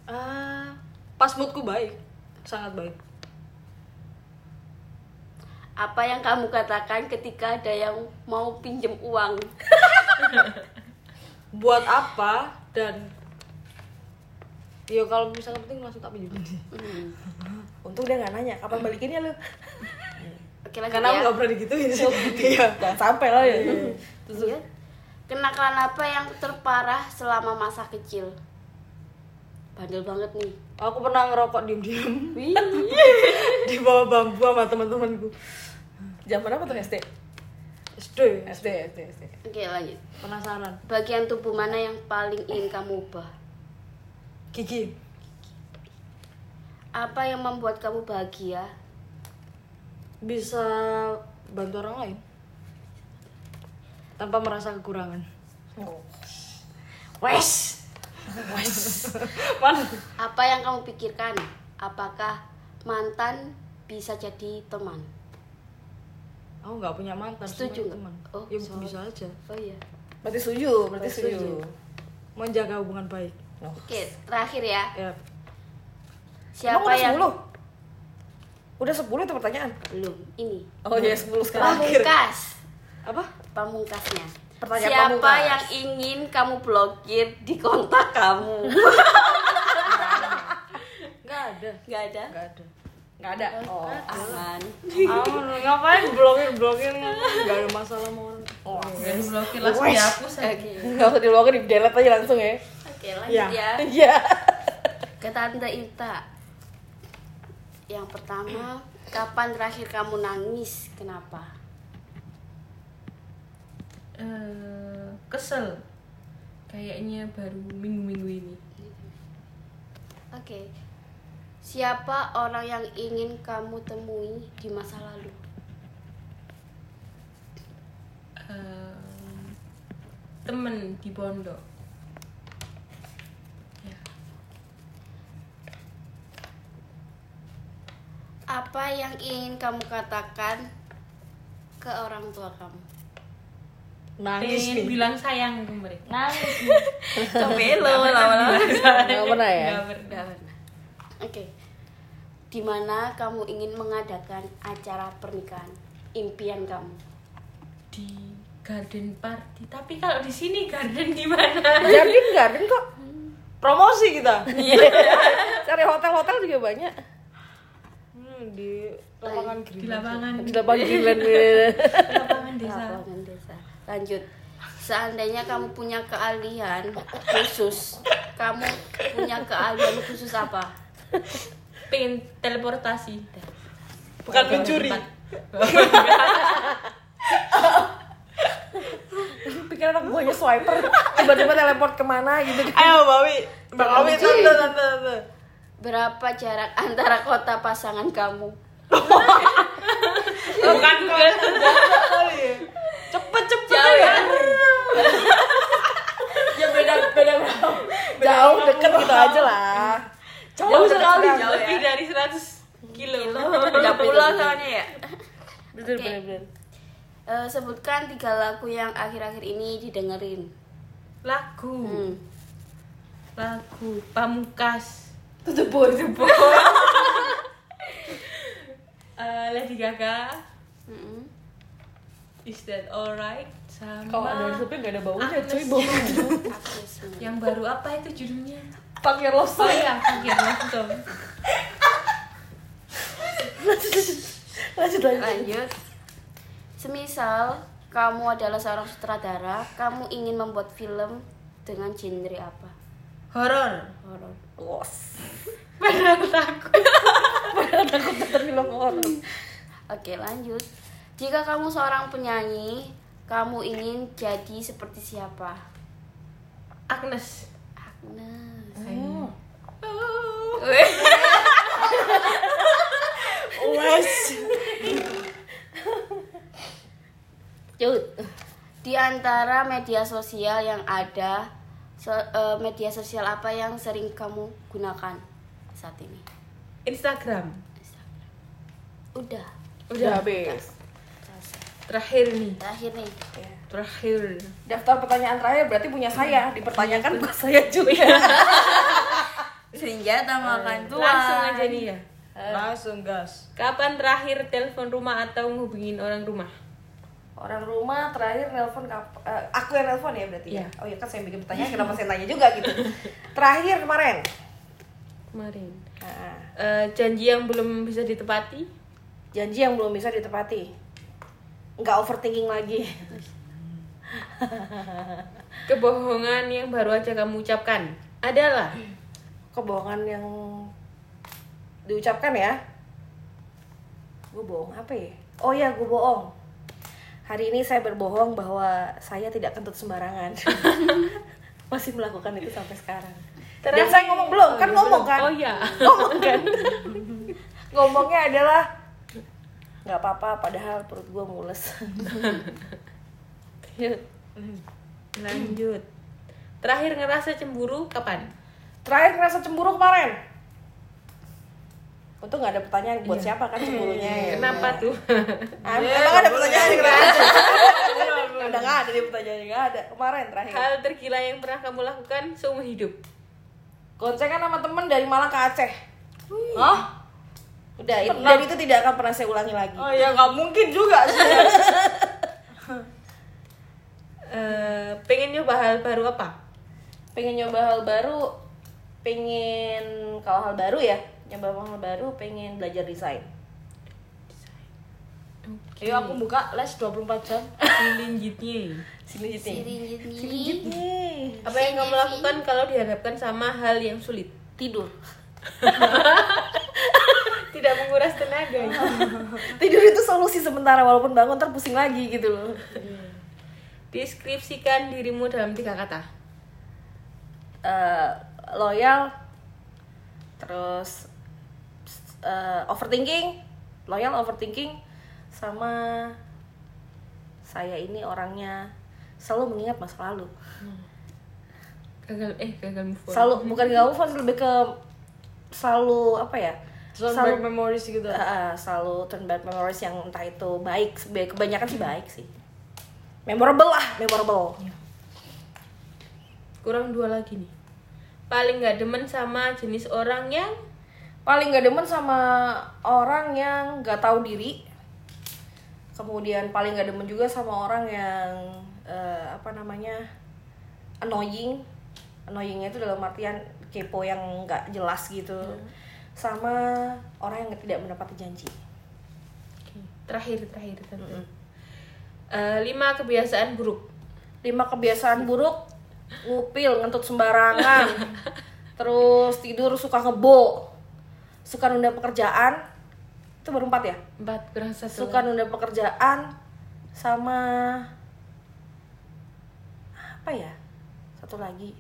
Speaker 2: Ah, pas moodku baik, sangat baik.
Speaker 3: Apa yang kamu katakan ketika ada yang mau pinjem uang?
Speaker 2: Buat apa dan Ya kalau misalnya penting langsung tak pinjemin sih.
Speaker 3: Hmm.
Speaker 1: Untung dia gak nanya kapan balikinnya *laughs* lu.
Speaker 3: Oke lanjut
Speaker 2: Karena aku
Speaker 3: ya.
Speaker 2: nggak pernah digituin sih. Iya.
Speaker 1: Jangan sampai lah ya.
Speaker 3: Iya. Kenakalan apa yang terparah selama masa kecil? Bandel banget nih.
Speaker 2: Aku pernah ngerokok diem-diem
Speaker 3: Wih.
Speaker 2: *laughs* di bawah bambu sama teman-temanku.
Speaker 1: Zaman apa tuh SD?
Speaker 2: SD,
Speaker 1: SD, SD, SD.
Speaker 3: Oke lanjut.
Speaker 2: penasaran.
Speaker 3: Bagian tubuh mana yang paling ingin kamu ubah?
Speaker 2: Gigi.
Speaker 3: Apa yang membuat kamu bahagia?
Speaker 2: bisa bantu orang lain tanpa merasa kekurangan.
Speaker 1: Oh.
Speaker 2: Wes. Wes. Man.
Speaker 3: Apa yang kamu pikirkan? Apakah mantan bisa jadi teman?
Speaker 2: Aku nggak punya mantan. semuanya
Speaker 3: Setuju nggak?
Speaker 2: teman.
Speaker 3: Oh,
Speaker 2: ya
Speaker 3: sorry.
Speaker 2: bisa aja.
Speaker 3: Oh iya.
Speaker 1: Berarti setuju, berarti
Speaker 2: Setuju.
Speaker 1: setuju.
Speaker 2: Menjaga hubungan baik.
Speaker 1: Oh.
Speaker 3: Oke, terakhir ya.
Speaker 2: Ya.
Speaker 1: Emang
Speaker 3: Siapa
Speaker 1: udah
Speaker 3: yang
Speaker 1: 10? Udah 10 itu pertanyaan.
Speaker 3: belum? Ini.
Speaker 1: Oh iya, 10 sekarang.
Speaker 3: Pamungkas.
Speaker 2: Apa?
Speaker 3: Pamungkasnya.
Speaker 1: Pertanyaan
Speaker 3: Siapa
Speaker 1: pamungkas.
Speaker 3: yang ingin kamu blokir di kontak
Speaker 1: *laughs*
Speaker 3: kamu?
Speaker 2: Nggak ada.
Speaker 3: Gak ada.
Speaker 2: Nggak ada.
Speaker 1: Enggak ada. Oh.
Speaker 3: Aman.
Speaker 2: *laughs* Aku Ah, ngapain blokir blokir nggak ada masalah sama orang.
Speaker 1: Oh.
Speaker 4: Biar blokir langsung dihapus aja.
Speaker 1: Enggak usah diluangin, di delete aja langsung ya.
Speaker 3: Oke, lanjut
Speaker 2: Ya.
Speaker 3: ya.
Speaker 1: *laughs* Iya.
Speaker 3: Ke Tante Ita. Yang pertama, kapan terakhir kamu nangis? Kenapa?
Speaker 4: Eh, kesel. Kayaknya baru minggu-minggu ini.
Speaker 3: Oke. Siapa orang yang ingin kamu temui di masa lalu?
Speaker 4: Eh, temen di pondok. Ya.
Speaker 3: Apa yang ingin kamu katakan ke orang tua kamu?
Speaker 1: Iya.
Speaker 2: Nangis
Speaker 4: Pengen
Speaker 2: nih.
Speaker 4: bilang sayang ke mereka. *laughs*
Speaker 3: Coba lo lama-lama.
Speaker 1: Enggak pernah ya.
Speaker 4: Nggak pernah.
Speaker 3: Oke. Di mana kamu ingin mengadakan acara pernikahan? Impian kamu.
Speaker 4: Di garden party. Tapi kalau di sini garden gimana?
Speaker 1: Garden garden kok.
Speaker 2: Promosi kita.
Speaker 1: Iya. Cari hotel-hotel juga banyak.
Speaker 2: Hmm, di lapangan green.
Speaker 4: Di lapangan.
Speaker 1: Di lapangan Greenland. *laughs* gitu.
Speaker 4: lapangan desa.
Speaker 3: Lapangan desa. Lanjut. Seandainya kamu punya keahlian khusus, kamu punya keahlian khusus apa?
Speaker 4: Pengen teleportasi.
Speaker 2: Bukan mencuri.
Speaker 1: Pikir anak buahnya swiper. Tiba-tiba teleport kemana gitu.
Speaker 2: Ayo Mbak Wi. Mbak Wi tante tante tante.
Speaker 3: Berapa jarak antara kota pasangan kamu?
Speaker 4: Bukan gue.
Speaker 2: Cepet cepet.
Speaker 3: Jauh ya?
Speaker 2: ya beda beda berapa
Speaker 1: Jauh deket gitu aja lah.
Speaker 2: jauh sekali
Speaker 4: Jauh lebih dari 100 kilo.
Speaker 3: Beda pulau soalnya ya.
Speaker 1: Bener,
Speaker 3: Oke.
Speaker 1: bener, bener.
Speaker 3: Eh, sebutkan tiga lagu yang akhir-akhir ini didengerin.
Speaker 4: Lagu.
Speaker 3: Hmm.
Speaker 4: Lagu pamungkas.
Speaker 1: Tujuh boy, tujuh boy.
Speaker 4: *laughs* Eh, Lady Gaga.
Speaker 3: Mm-mm.
Speaker 4: Is that alright? Sama.
Speaker 1: Kalau ada resepnya gak ada baunya,
Speaker 4: Agnes
Speaker 1: iya, cuy bau.
Speaker 4: Mo.
Speaker 3: Aku semua.
Speaker 4: Yang baru apa itu judulnya?
Speaker 1: Pakai
Speaker 4: Oh
Speaker 1: lobster.
Speaker 4: ya, pakai lontong.
Speaker 1: Lanjut lanjut.
Speaker 3: Lanjut. Semisal kamu adalah seorang sutradara, kamu ingin membuat film dengan genre apa?
Speaker 4: horor
Speaker 3: horor
Speaker 1: Los.
Speaker 4: padahal takut
Speaker 1: Nonton film horor.
Speaker 3: Oke lanjut Jika kamu seorang penyanyi Kamu ingin jadi seperti siapa?
Speaker 4: Agnes
Speaker 3: Agnes
Speaker 4: Oh.
Speaker 3: Oh.
Speaker 2: Wes.
Speaker 3: Lanjut Di antara media sosial yang ada so- eh, Media sosial apa yang sering kamu gunakan saat ini?
Speaker 4: Instagram
Speaker 3: Instagram. Udah
Speaker 4: udah
Speaker 2: habis.
Speaker 4: terakhir nih
Speaker 3: Terakhir nih
Speaker 4: terakhir
Speaker 1: Daftar pertanyaan terakhir berarti punya saya. Dipertanyakan bukan saya juga. *laughs*
Speaker 3: Senjata makan
Speaker 4: langsung aja nih ya
Speaker 2: Eh. Langsung gas.
Speaker 4: kapan terakhir telepon rumah atau ngubungin orang rumah
Speaker 1: Orang rumah terakhir nelpon kap- eh, aku yang nelpon ya berarti ya.
Speaker 4: Iya.
Speaker 1: Oh iya kan saya yang bikin pertanyaan kenapa saya tanya juga gitu. Terakhir kemarin.
Speaker 4: kemarin
Speaker 1: Nah,
Speaker 4: Eh, janji yang belum bisa ditepati
Speaker 1: janji yang belum bisa ditepati. Nggak overthinking lagi. *laughs*
Speaker 4: kebohongan yang baru aja kamu ucapkan adalah
Speaker 1: Kebohongan yang diucapkan ya. Gue bohong apa ya? Oh ya, gue bohong. Hari ini saya berbohong bahwa saya tidak kentut sembarangan. *laughs* Masih melakukan itu sampai sekarang. Dan
Speaker 4: Terakhir.
Speaker 1: saya ngomong belum, kan
Speaker 4: Oh, iya,
Speaker 1: ngomong
Speaker 4: belum.
Speaker 1: kan?
Speaker 4: Oh
Speaker 1: *laughs*
Speaker 4: iya.
Speaker 1: Ngomong kan? Ngomongnya adalah nggak apa-apa padahal perut gue mules. *laughs*
Speaker 4: lanjut terakhir ngerasa cemburu kapan
Speaker 1: Terakhir ngerasa cemburu kemarin. Untung nggak ada pertanyaan buat siapa kan cemburunya ya.
Speaker 4: kenapa *laughs* tuh
Speaker 1: Ah,
Speaker 2: Iya,
Speaker 1: emang ada
Speaker 2: boleh.
Speaker 1: pertanyaan yang
Speaker 2: *laughs*
Speaker 1: nggak ada?
Speaker 2: Bener, bener.
Speaker 1: Udah nggak ada nih pertanyaan yang nggak ada kemarin terakhir.
Speaker 4: hal tergila yang pernah kamu lakukan seumur hidup
Speaker 1: Goncengan sama temen dari Malang ke Aceh.
Speaker 2: Hah?
Speaker 1: Udah, itu, dan itu tidak akan pernah saya ulangi lagi.
Speaker 2: Oh ya nggak mungkin juga sih.
Speaker 1: *laughs*
Speaker 4: Eh, pengen nyoba hal baru apa
Speaker 1: pengen nyoba hal baru pengen kalau hal baru ya nyoba hal baru pengen belajar desain
Speaker 2: Ayo aku buka les 24 jam.
Speaker 4: selanjutnya
Speaker 1: sini sini
Speaker 3: Sirinjit
Speaker 4: gitu ya. apa yang kamu lakukan kalau dihadapkan sama hal yang sulit
Speaker 3: Tidur
Speaker 4: tidak menguras tenaga
Speaker 1: tidur itu solusi sementara walaupun bangun ntar pusing lagi gitu loh
Speaker 4: deskripsikan dirimu dalam tiga kata
Speaker 1: Eh, loyal terus eh, overthinking loyal overthinking sama saya ini orangnya selalu mengingat masa lalu
Speaker 4: gagal eh gagal move on
Speaker 1: selalu bukan gak move on, lebih ke selalu apa ya
Speaker 2: Soal memories gitu.
Speaker 1: Ah, ah, selalu turn back memories yang entah itu baik sebaik- kebanyakan sih baik sih memorable lah memorable
Speaker 4: kurang dua lagi nih paling nggak demen sama jenis orang yang
Speaker 1: paling gak demen sama orang yang gak tahu diri kemudian paling gak demen juga sama orang yang eh, apa namanya annoying annoyingnya itu dalam artian kepo yang gak jelas gitu sama orang yang tidak mendapati janji
Speaker 4: terakhir terakhir tante Eh, lima kebiasaan buruk
Speaker 1: lima kebiasaan buruk ngupil ngentut sembarangan terus tidur suka ngebo suka nunda pekerjaan itu baru empat ya
Speaker 4: empat kurang satu
Speaker 1: suka nunda pekerjaan sama apa ya satu lagi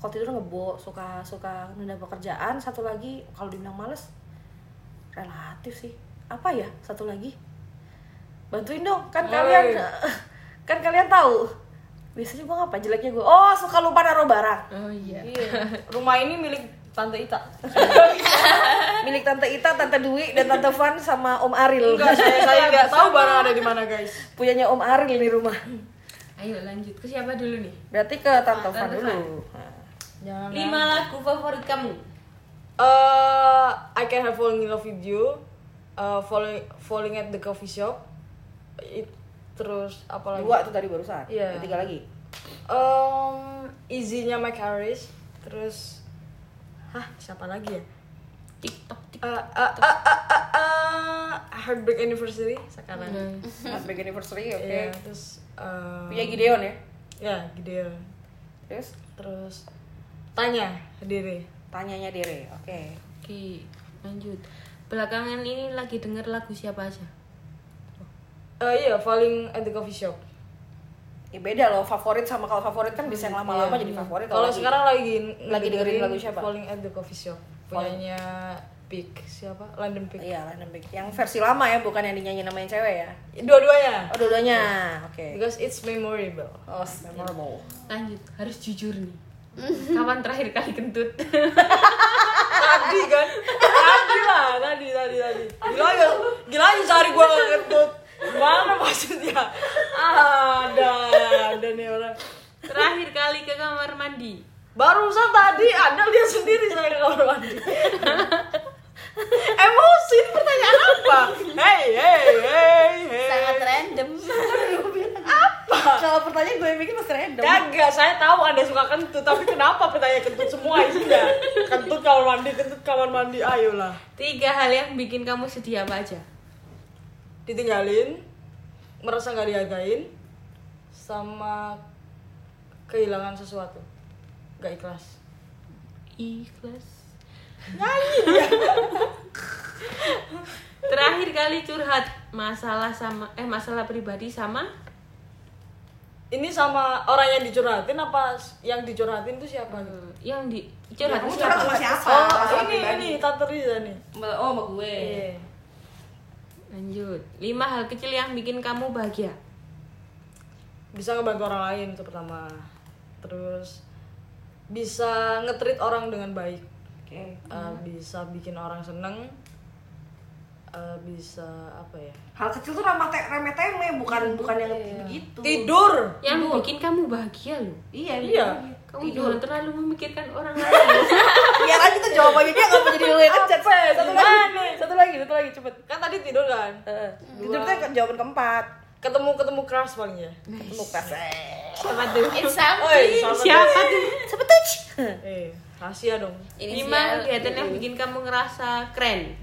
Speaker 1: kalau tidur ngebo suka suka nunda pekerjaan satu lagi kalau dibilang males relatif sih apa ya satu lagi bantuin dong kan kalian *laughs* kan kalian tahu biasanya gue ngapa jeleknya gue oh suka lupa naruh barang
Speaker 4: oh iya
Speaker 2: Rumah ini milik tante Ita.
Speaker 1: milik tante Ita tante Dwi dan tante Van sama Om Aril
Speaker 2: Enggak, saya
Speaker 1: *laughs*
Speaker 2: saya nggak tahu barang ada di mana guys.
Speaker 1: punyanya Om Aril di rumah
Speaker 4: ayo lanjut ke siapa dulu nih
Speaker 1: berarti ke tante Van dulu
Speaker 2: Jangan.
Speaker 4: lima lagu favorit kamu
Speaker 2: Eh, I can have falling in love with you. Eh, falling falling at the coffee shop. It, terus apa lagi?
Speaker 1: dua tuh tadi barusan
Speaker 2: Iya.
Speaker 1: Ada tiga lagi
Speaker 2: Um, Easy-nya Mike Harris. Terus Hah, siapa lagi ya? Eh,
Speaker 4: tiktok
Speaker 2: eh, eh, eh, eh, eh, Heartbreak Anniversary sekarang.
Speaker 4: Hmm.
Speaker 1: Heartbreak Anniversary oke
Speaker 2: Iya, terus eh,
Speaker 1: punya Gideon ya
Speaker 2: Ya, Gideon.
Speaker 1: terus
Speaker 2: Terus Tanya diri.
Speaker 1: Tanyanya diri. Oke.
Speaker 4: Oke, lanjut. Belakangan ini lagi denger lagu siapa aja?
Speaker 2: Eh iya, paling at the coffee shop.
Speaker 1: Ya beda loh favorit sama kalau favorit kan bisa yang lama-lama jadi favorit
Speaker 2: Kalau
Speaker 1: lagi-
Speaker 2: sekarang lagi
Speaker 1: lagi dengerin lagu siapa?
Speaker 2: Falling at the coffee shop. Punyanya Pick siapa? London Pick.
Speaker 1: Iya, London Big. Yang versi lama ya, bukan yang dinyanyi namanya cewek ya. Oh,
Speaker 2: Dua-duanya.
Speaker 1: dua-duanya. Oke.
Speaker 2: Because it's memorable.
Speaker 1: Oh, memorable.
Speaker 4: Lanjut, harus jujur *laughs* nih. Kapan terakhir kali *laughs* kentut?
Speaker 2: tadi kan? Tadi lah, tadi tadi tadi. Gila ya, gila aja cari gua nggak kentut. Mana maksudnya? Ada, ada nih orang.
Speaker 4: terakhir kali ke kamar mandi.
Speaker 2: Barusan tadi ada dia sendiri saya ke kamar mandi. Emosi ini pertanyaan apa? Hey, hey, hey, hey.
Speaker 3: sangat *laughs* random
Speaker 1: Kalau pertanyaan gue yang bikin pasti random.
Speaker 2: Kagak, saya tahu Anda suka kentut, tapi kenapa pertanyaan kentut semua isinya? Kentut kamar mandi, kentut kamar mandi, ayolah.
Speaker 4: Tiga hal yang bikin kamu sedih apa aja?
Speaker 2: Ditinggalin, merasa nggak dihargain, sama kehilangan sesuatu. Gak ikhlas.
Speaker 4: Ikhlas. terakhir kali curhat masalah sama eh masalah pribadi sama
Speaker 2: Ini sama orang yang dicurhatin apa yang dicurhatin tuh siapa? gitu?
Speaker 4: eh, yang di
Speaker 1: Iya,
Speaker 4: curhat
Speaker 1: Kamu curhat
Speaker 4: siapa?
Speaker 1: sama siapa?
Speaker 2: Oh,
Speaker 1: Masalah
Speaker 2: ini
Speaker 1: pribadi.
Speaker 2: ini Tante Riza nih.
Speaker 1: Oh, sama gue.
Speaker 2: Iya.
Speaker 4: Lanjut. Lima hal kecil yang bikin kamu bahagia.
Speaker 2: Bisa ngebantu orang lain itu pertama. Terus bisa ngetrit orang dengan baik.
Speaker 1: Oke.
Speaker 2: Uh, bisa bikin orang seneng uh, bisa apa ya
Speaker 1: Hal kecil tuh ramah te remeh temeh, bukan bukan yang begitu.
Speaker 2: tidur
Speaker 4: Yang bikin kamu bahagia loh.
Speaker 1: Iya,
Speaker 2: Iya.
Speaker 4: Kamu jangan terlalu memikirkan orang lain.
Speaker 1: Biar aja tuh Iya kan, jawabannya dia nggak mau jadi lu yang ngechat. Satu lagi, satu lagi, satu lagi cepet.
Speaker 2: kan tadi tidur kan
Speaker 1: Heeh. Itu tuh jawaban keempat.
Speaker 2: ketemu ketemu keras paling ya
Speaker 1: Ketemu keras.
Speaker 4: Sama tuh.
Speaker 3: it's
Speaker 2: Nah, Oi,
Speaker 3: something
Speaker 2: sama
Speaker 4: Siapa tuh?
Speaker 1: Cepet tuh.
Speaker 2: eh rahasia dong
Speaker 4: Lima kegiatan yang bikin kamu ngerasa keren.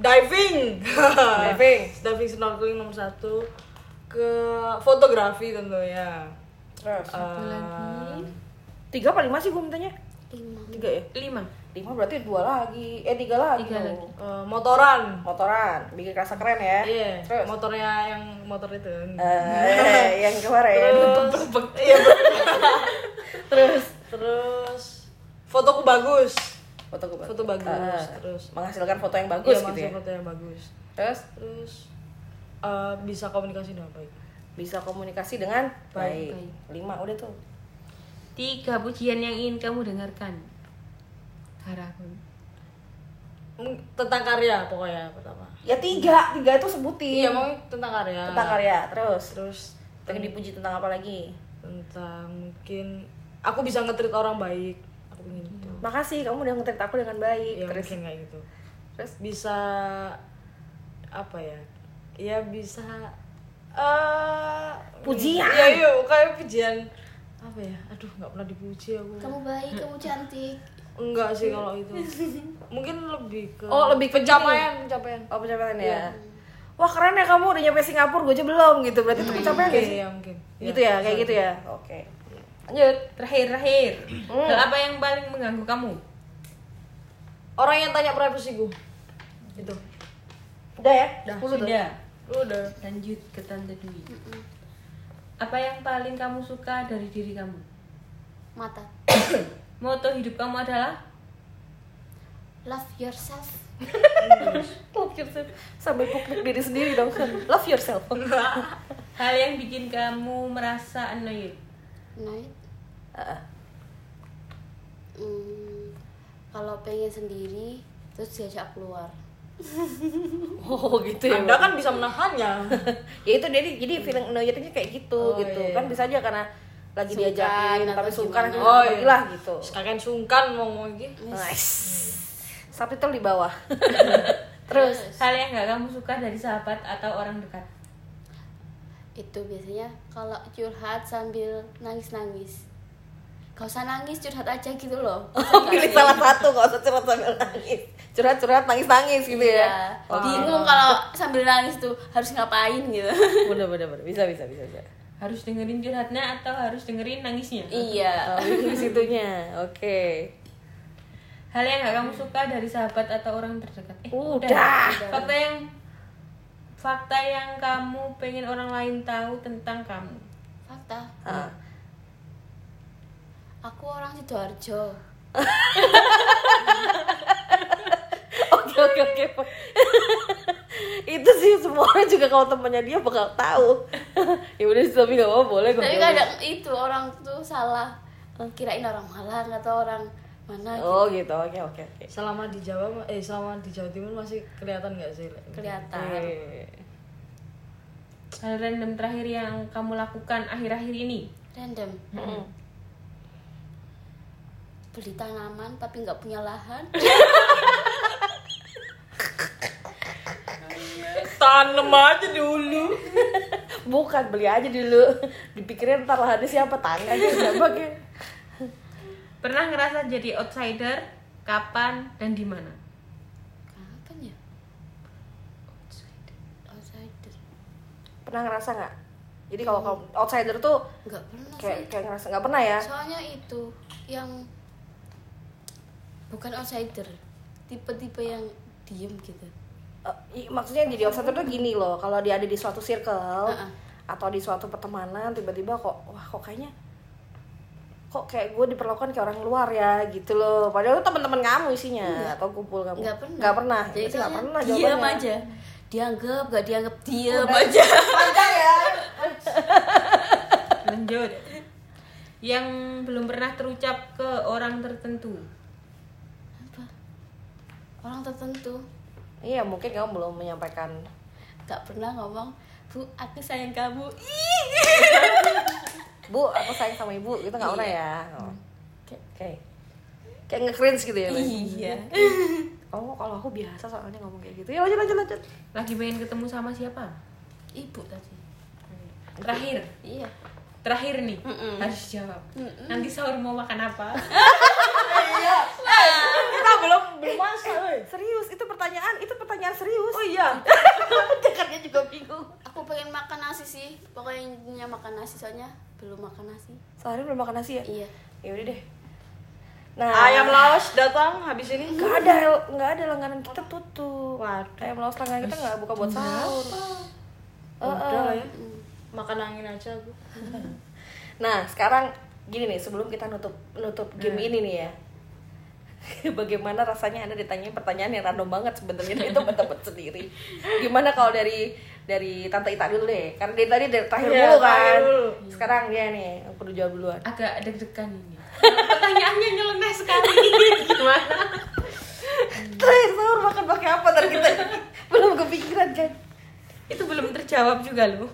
Speaker 2: diving
Speaker 1: Diving.
Speaker 2: *laughs* diving snorkeling nomor satu ke fotografi tentunya
Speaker 1: Terus.
Speaker 2: Uh,
Speaker 1: Tiga paling masih gue mintanya.
Speaker 2: tiga ya
Speaker 4: Lima.
Speaker 1: Lima berarti dua lagi. Eh, tiga lagi.
Speaker 4: Tiga
Speaker 1: dong.
Speaker 4: lagi.
Speaker 2: Uh, motoran
Speaker 1: Motoran, bikin kerasa keren ya.
Speaker 2: iya
Speaker 1: Terus.
Speaker 2: motornya yang motor itu
Speaker 1: Eh, *laughs* yang kemarin.
Speaker 2: terus iya,
Speaker 1: Terus
Speaker 2: terus fotoku bagus
Speaker 1: foto gue
Speaker 2: Foto bagus,
Speaker 1: Ah,
Speaker 2: terus.
Speaker 1: menghasilkan foto yang bagus
Speaker 2: Iya,
Speaker 1: gitu
Speaker 2: maksudnya
Speaker 1: ya.
Speaker 2: foto yang bagus
Speaker 1: Terus
Speaker 2: terus eh, bisa komunikasi dengan baik
Speaker 1: bisa komunikasi dengan baik.
Speaker 2: Baik.
Speaker 1: Lima udah tuh.
Speaker 4: Tiga pujian yang ingin kamu dengarkan. Harapan.
Speaker 2: M- tentang karya pokoknya pertama
Speaker 1: Ya tiga, tiga itu sebutin.
Speaker 2: iya mau tentang karya
Speaker 1: Tentang karya, terus.
Speaker 2: terus
Speaker 1: Pengen dipuji tentang apa lagi?
Speaker 2: tentang mungkin aku bisa ngetrit orang baik aku ingin gitu
Speaker 1: Makasih kamu udah ngetrit aku dengan baik.
Speaker 2: ya
Speaker 1: terus
Speaker 2: mungkin kayak gitu
Speaker 1: terus
Speaker 2: bisa apa ya ya bisa eh
Speaker 1: Pujian.
Speaker 2: iya iya kayak pujian apa ya aduh nggak pernah dipuji aku
Speaker 3: kamu baik kamu cantik
Speaker 2: enggak sih kalau
Speaker 1: *laughs*
Speaker 2: itu mungkin lebih ke
Speaker 1: Oh, lebih ke
Speaker 2: pencapaian pencapaian Iya.
Speaker 1: oh pencapaian ya. Wah keren ya kamu udah nyampe Singapura, gue aja belum gitu. Berarti itu pencapaian
Speaker 2: Oke,
Speaker 1: gak sih?
Speaker 2: ya mungkin
Speaker 1: Gitu ya,
Speaker 2: Iya.
Speaker 1: kayak gitu ya. Oke. Lanjut.
Speaker 4: Terakhir, terakhir. Hal apa yang paling mengganggu kamu?
Speaker 2: orang yang tanya privacy gue itu
Speaker 1: Udah ya?
Speaker 4: Dah,
Speaker 1: Sepuluh tuh.
Speaker 4: sudah.
Speaker 2: udah
Speaker 4: Lanjut ke Tante Dwi. Apa yang paling kamu suka dari diri kamu?
Speaker 3: mata
Speaker 4: Moto hidup kamu adalah?
Speaker 3: love yourself
Speaker 1: Love yourself. gitu. Sambil puk-puk diri sendiri dong. *laughs* Love yourself.
Speaker 4: Hal yang bikin kamu merasa annoyed.
Speaker 3: night
Speaker 1: Heeh.
Speaker 3: Hmm, kalau pengen sendiri terus diajak keluar
Speaker 1: oh gitu ya.
Speaker 2: anda kan bisa menahannya
Speaker 1: ya itu jadi jadi feeling annoyednya kayak gitu
Speaker 2: Oh,
Speaker 1: gitu
Speaker 2: iya.
Speaker 1: kan bisa aja karena lagi
Speaker 3: Sungkan
Speaker 1: diajakin
Speaker 3: atau
Speaker 1: tapi sungkan
Speaker 3: gimana.
Speaker 1: akhirnya
Speaker 2: Oh, iya.
Speaker 1: pergilah gitu
Speaker 2: kakek sungkan mau ngomong gitu
Speaker 1: nice subtitle di
Speaker 2: *laughs*
Speaker 1: bawah
Speaker 4: Terus, hal yang gak kamu suka dari sahabat atau orang dekat?
Speaker 3: itu biasanya kalau curhat sambil nangis nangis gak usah nangis curhat aja gitu
Speaker 1: *laughs*
Speaker 3: loh
Speaker 1: pilih salah satu gak usah curhat sambil nangis curhat curhat nangis nangis gitu
Speaker 2: Iya.
Speaker 1: ya
Speaker 3: ya bingung kalau sambil nangis tuh harus ngapain gitu *laughs*
Speaker 1: bener bener bener bisa bisa bisa bisa
Speaker 4: harus dengerin curhatnya atau harus dengerin nangisnya
Speaker 1: Oh,
Speaker 3: Iya.
Speaker 1: di situnya. Oke.
Speaker 4: hal yang gak kamu suka dari sahabat atau orang terdekat eh,
Speaker 1: Udah.
Speaker 4: fakta yang fakta yang kamu pengen orang lain tahu tentang kamu
Speaker 3: Fakta.
Speaker 1: Ah.
Speaker 3: Aku orang Sidoarjo.
Speaker 1: Oke oke oke. *laughs* Itu sih semua orang juga kalau temannya dia bakal tahu. *laughs* ya udah sih, tapi gak apa-apa boleh kok.
Speaker 3: Tapi kadang itu orang tuh salah kirain orang Malang atau orang mana gitu.
Speaker 1: Oh gitu. Oke oke oke.
Speaker 2: *laughs* Selama di Jawa eh selama di Jawa Timur masih kelihatan nggak sih?
Speaker 3: kelihatan.
Speaker 4: hal random terakhir yang kamu lakukan akhir-akhir ini
Speaker 3: Random. Beli tanaman tapi nggak punya lahan.
Speaker 2: Tanem aja dulu.
Speaker 1: *laughs* Bukan beli aja dulu. *laughs* Dipikirin ntar lahannya siapa tangga aja siapa kayak.
Speaker 4: pernah ngerasa jadi outsider kapan dan di mana
Speaker 3: Kapan ya? Outsider.
Speaker 1: Pernah ngerasa nggak? Jadi kalau kamu outsider tuh
Speaker 3: Nggak pernah
Speaker 1: kayak
Speaker 3: sih.
Speaker 1: kayak ngerasa nggak pernah ya?
Speaker 3: Soalnya itu yang bukan outsider. Tipe-tipe yang diem gitu.
Speaker 1: Eh, i- maksudnya jadi outsider tuh gini loh. Kalau dia ada di suatu circle
Speaker 3: Heeh.
Speaker 1: atau di suatu pertemanan tiba-tiba kok wah kok kayaknya kok kayak gue diperlakukan kayak orang luar ya gitu loh padahal itu teman-teman kamu isinya atau kumpul kamu
Speaker 3: Iya. Nggak pernah.
Speaker 1: nggak pernah
Speaker 3: Jadi
Speaker 1: Berarti Ah, nggak
Speaker 3: soalnya
Speaker 1: pernah
Speaker 3: Diem
Speaker 1: jawabannya.
Speaker 3: aja. Dianggap nggak dianggap diem aja.
Speaker 1: panjang ya
Speaker 4: lanjut yang belum pernah terucap ke orang tertentu
Speaker 3: Apa? Orang tertentu
Speaker 1: *laughs* iya mungkin kamu belum menyampaikan
Speaker 3: nggak pernah ngomong bu aku sayang kamu Ih,
Speaker 1: bu aku sayang sama ibu gitu nggak pernah
Speaker 3: Iya.
Speaker 1: ya Oh. oke kayak nge cringe gitu ya Bay?
Speaker 3: iya
Speaker 1: oh kalau aku biasa soalnya ngomong kayak gitu ya lanjut lanjut lanjut
Speaker 4: lagi pengen ketemu sama siapa
Speaker 3: ibu tadi
Speaker 4: terakhir
Speaker 3: iya
Speaker 4: terakhir nih harus jawab nanti sahur mau makan apa
Speaker 2: Kita Nah, belum belum masak. weh.
Speaker 1: Eh, serius itu pertanyaan itu pertanyaan serius
Speaker 2: Oh iya.
Speaker 1: Dengarnya juga bingung
Speaker 3: aku pengen makan nasi sih pokoknya makan nasi soalnya belum makan nasi
Speaker 1: sehari belum makan nasi ya
Speaker 3: iya
Speaker 1: ya udah deh nah
Speaker 2: Ayam laos datang habis ini.
Speaker 1: nggak ada nggak ada langganan kita tutup Iya. waduh ayam laos langganan kita nggak buka buat sahur
Speaker 2: Udah lah ya.
Speaker 3: Mm.
Speaker 2: Makan angin aja aku.
Speaker 1: *laughs* Nah, sekarang gini nih, sebelum kita nutup nutup game ini nih ya. *laughs* Bagaimana rasanya Anda ditanya pertanyaan yang random banget sebenarnya itu *laughs* teman-teman sendiri. Gimana kalau dari dari Tante Ita dulu deh, karena dia tadi dari terakhir
Speaker 2: Iya,
Speaker 1: dulu
Speaker 2: terakhir
Speaker 1: kan.
Speaker 2: dulu.
Speaker 1: Sekarang dia nih, aku udah jawab duluan.
Speaker 4: agak deg-degan ini pertanyaannya nyeleneh sekali gimana
Speaker 1: Terakhir sahur makan pakai apa tadi kita *laughs* belum kepikiran kan?
Speaker 4: itu belum terjawab juga loh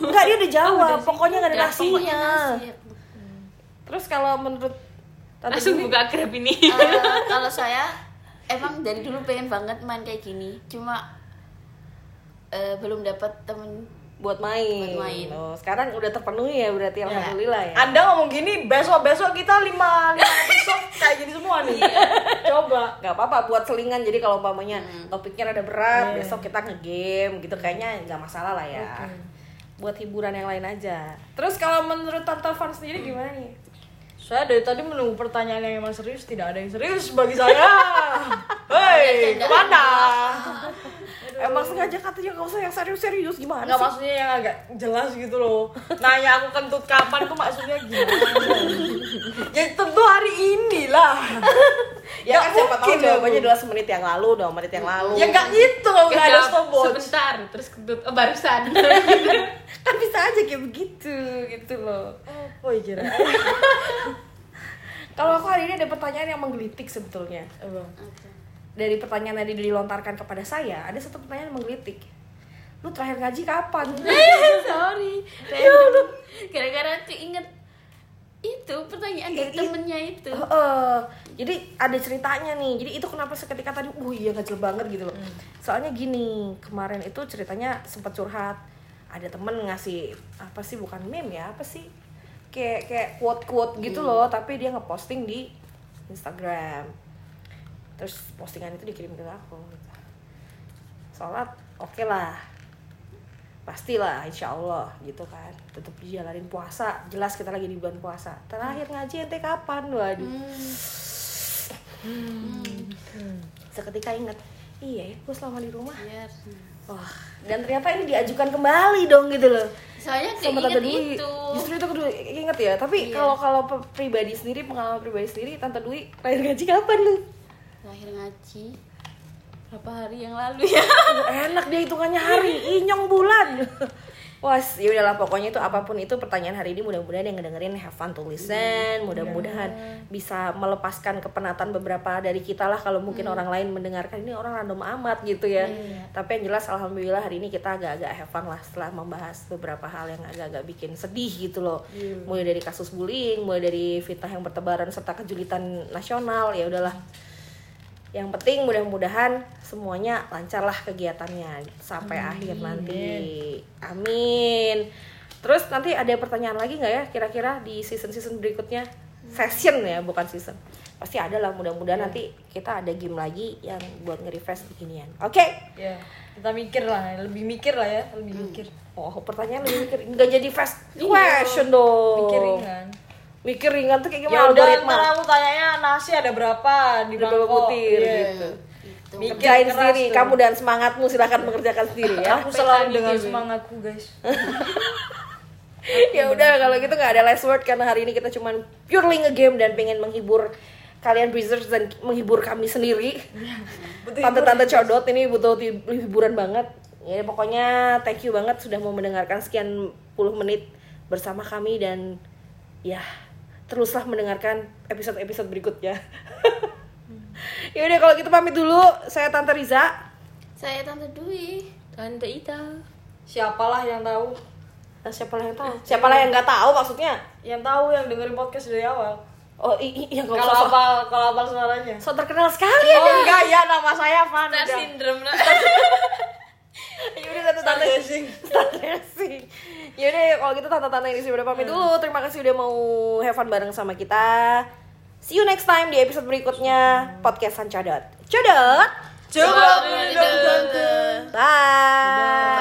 Speaker 1: Enggak, dia udah
Speaker 2: Oh,
Speaker 1: jawab. pokoknya nggak ada
Speaker 2: Ya,
Speaker 4: Udah,
Speaker 1: nasinya.
Speaker 3: Ya, Nasi, aku.
Speaker 1: Terus kalau menurut Tante
Speaker 4: langsung
Speaker 1: Juli-
Speaker 4: buka grab ini *laughs*
Speaker 3: Eh, kalau saya emang dari dulu pengen banget main kayak gini cuma eh, belum dapat temen
Speaker 1: buat main.
Speaker 3: Buat main.
Speaker 1: Oh, sekarang udah terpenuhi ya berarti
Speaker 2: Iya.
Speaker 1: alhamdulillah ya.
Speaker 2: Anda ngomong gini, besok-besok kita lima, lima besok *laughs* kayak gini semua nih. Coba.
Speaker 1: nggak apa-apa buat selingan jadi kalau umpamanya
Speaker 2: Hmm.
Speaker 1: topiknya rada berat besok kita ngegame gitu kayaknya nggak masalah lah ya buat hiburan yang lain aja terus kalau menurut tante Van sendiri gimana nih
Speaker 2: Saya dari tadi menunggu pertanyaan yang emang serius, tidak ada yang serius bagi
Speaker 1: *laughs*
Speaker 2: saya.
Speaker 3: Ada
Speaker 2: Hei,
Speaker 3: candaan.
Speaker 2: kemana?
Speaker 1: emang sengaja katanya nggak usah yang serius-serius gimana
Speaker 2: Enggak
Speaker 1: sih
Speaker 2: maksudnya yang agak jelas gitu loh. Nanya aku kentut kapan tuh maksudnya
Speaker 1: *laughs*
Speaker 2: gimana? ya tentu hari *laughs* inilah.
Speaker 1: ya kan siapa tahu
Speaker 2: mungkin
Speaker 1: jawabannya
Speaker 2: dong.
Speaker 1: adalah semenit yang lalu dua menit yang lalu
Speaker 2: Ya enggak gitu loh, enggak ada
Speaker 4: Kejawab
Speaker 2: stopwatch.
Speaker 4: sebentar terus kentut oh, barusan
Speaker 1: kan bisa aja kayak begitu gitu loh
Speaker 2: Oh iya.
Speaker 1: kalau aku hari ini ada pertanyaan yang menggelitik sebetulnya dari pertanyaan tadi dilontarkan kepada saya ada satu pertanyaan yang menggelitik lu terakhir ngaji kapan
Speaker 3: *laughs*
Speaker 1: Eh,
Speaker 3: sorry random gara-gara keinget itu pertanyaan dari temennya itu
Speaker 1: Heeh. eh. jadi ada ceritanya nih. Jadi itu kenapa seketika tadi, uh iya kecil banget gitu loh. Soalnya gini, kemarin itu ceritanya sempat curhat. Ada temen ngasih apa sih bukan meme ya, apa sih? Kayak kayak quote-quote gitu loh, tapi dia ngeposting di Instagram. Terus postingan itu dikirim ke aku. Gitu. Salat oke lah. pastilah insya Allah gitu kan tetap dijalanin puasa jelas kita lagi di bulan puasa terakhir ngaji ente kapan waduh seketika ingat iya ya gue selama di rumah
Speaker 3: Biar.
Speaker 1: wah dan ternyata ini diajukan kembali dong gitu loh
Speaker 3: Soalnya
Speaker 1: sama
Speaker 3: keinget
Speaker 1: tante Dwi
Speaker 3: Ya, itu.
Speaker 1: justru itu kedua inget ya tapi kalau kalau pe- pribadi sendiri pengalaman pribadi sendiri tante Dwi lahir gaji kapan lu
Speaker 3: Terakhir ngaji berapa hari yang lalu ya?
Speaker 1: Aduh, enak dia hitungannya hari inyong bulan was ya udahlah pokoknya itu apapun itu pertanyaan hari ini mudah-mudahan yang ngedengerin have fun to listen mudah-mudahan bisa melepaskan kepenatan beberapa dari kita lah kalau mungkin orang lain mendengarkan ini orang random amat gitu ya tapi yang jelas alhamdulillah hari ini kita agak-agak have fun lah setelah membahas beberapa hal yang agak-agak bikin sedih gitu loh mulai dari kasus bullying mulai dari fitnah yang bertebaran serta kejulitan nasional ya udahlah yang penting mudah-mudahan semuanya lancarlah kegiatannya sampai akhir nanti amin terus nanti ada pertanyaan lagi nggak ya kira-kira di season season berikutnya session ya bukan season pasti ada lah mudah-mudahan
Speaker 2: Iya.
Speaker 1: nanti kita ada game lagi yang buat nge-refresh beginian oke
Speaker 2: Ya, kita mikir lah, lebih mikir lah ya, lebih mikir.
Speaker 1: oh pertanyaan lebih mikir nggak jadi fast question dong
Speaker 2: Iya. Mikir
Speaker 1: kan.
Speaker 2: ringan.
Speaker 1: mikir ringan tuh kayak
Speaker 2: Oh. Ya
Speaker 1: gimana
Speaker 2: udah,
Speaker 1: algoritma
Speaker 2: ntar aku tanyanya nasi ada berapa di
Speaker 1: Ada berapa
Speaker 2: Bangkok.
Speaker 1: butir,
Speaker 2: Iya.
Speaker 1: gitu.
Speaker 3: Itu.
Speaker 2: Mikir
Speaker 1: kerjain
Speaker 2: keras
Speaker 1: sendiri
Speaker 2: tuh.
Speaker 1: kamu dan semangatmu silahkan mengerjakan sendiri ya
Speaker 2: Aku selalu
Speaker 4: *laughs* Gitu.
Speaker 2: dengan semangatku guys.
Speaker 1: ya udah kalau gitu nggak ada last word karena hari ini kita cuman purely ngegame dan pengen menghibur kalian breezers dan menghibur kami sendiri tante-tante codot ini butuh ti- hiburan banget ya pokoknya thank you banget sudah mau mendengarkan sekian puluh menit bersama kami dan ya teruslah mendengarkan episode-episode berikutnya *laughs* ya udah kalau gitu pamit dulu saya tante Riza
Speaker 3: Saya Tante Dwi.
Speaker 4: Tante Ita.
Speaker 2: Siapalah yang tahu?
Speaker 1: siapa yang tahu siapa yang nggak tahu maksudnya
Speaker 2: Yang tahu yang dengerin podcast dari awal.
Speaker 1: oh i- i- ya nggak
Speaker 2: Kalau
Speaker 1: usah so,
Speaker 2: apa kalau apa suaranya?
Speaker 1: so terkenal sekali ya
Speaker 2: Oh enggak ya nama saya Fanda.
Speaker 4: Star syndrome lah.
Speaker 2: Ya
Speaker 1: Yaudah tante tante
Speaker 2: Stargazing.
Speaker 1: Stargazing Yaudah ya, kalau gitu tante-tante ini sudah pamit dulu Terima kasih udah mau have fun bareng sama kita See you next time di episode berikutnya Podcast Sancadot Codot
Speaker 2: Coba dulu dong, Tante.
Speaker 1: Bye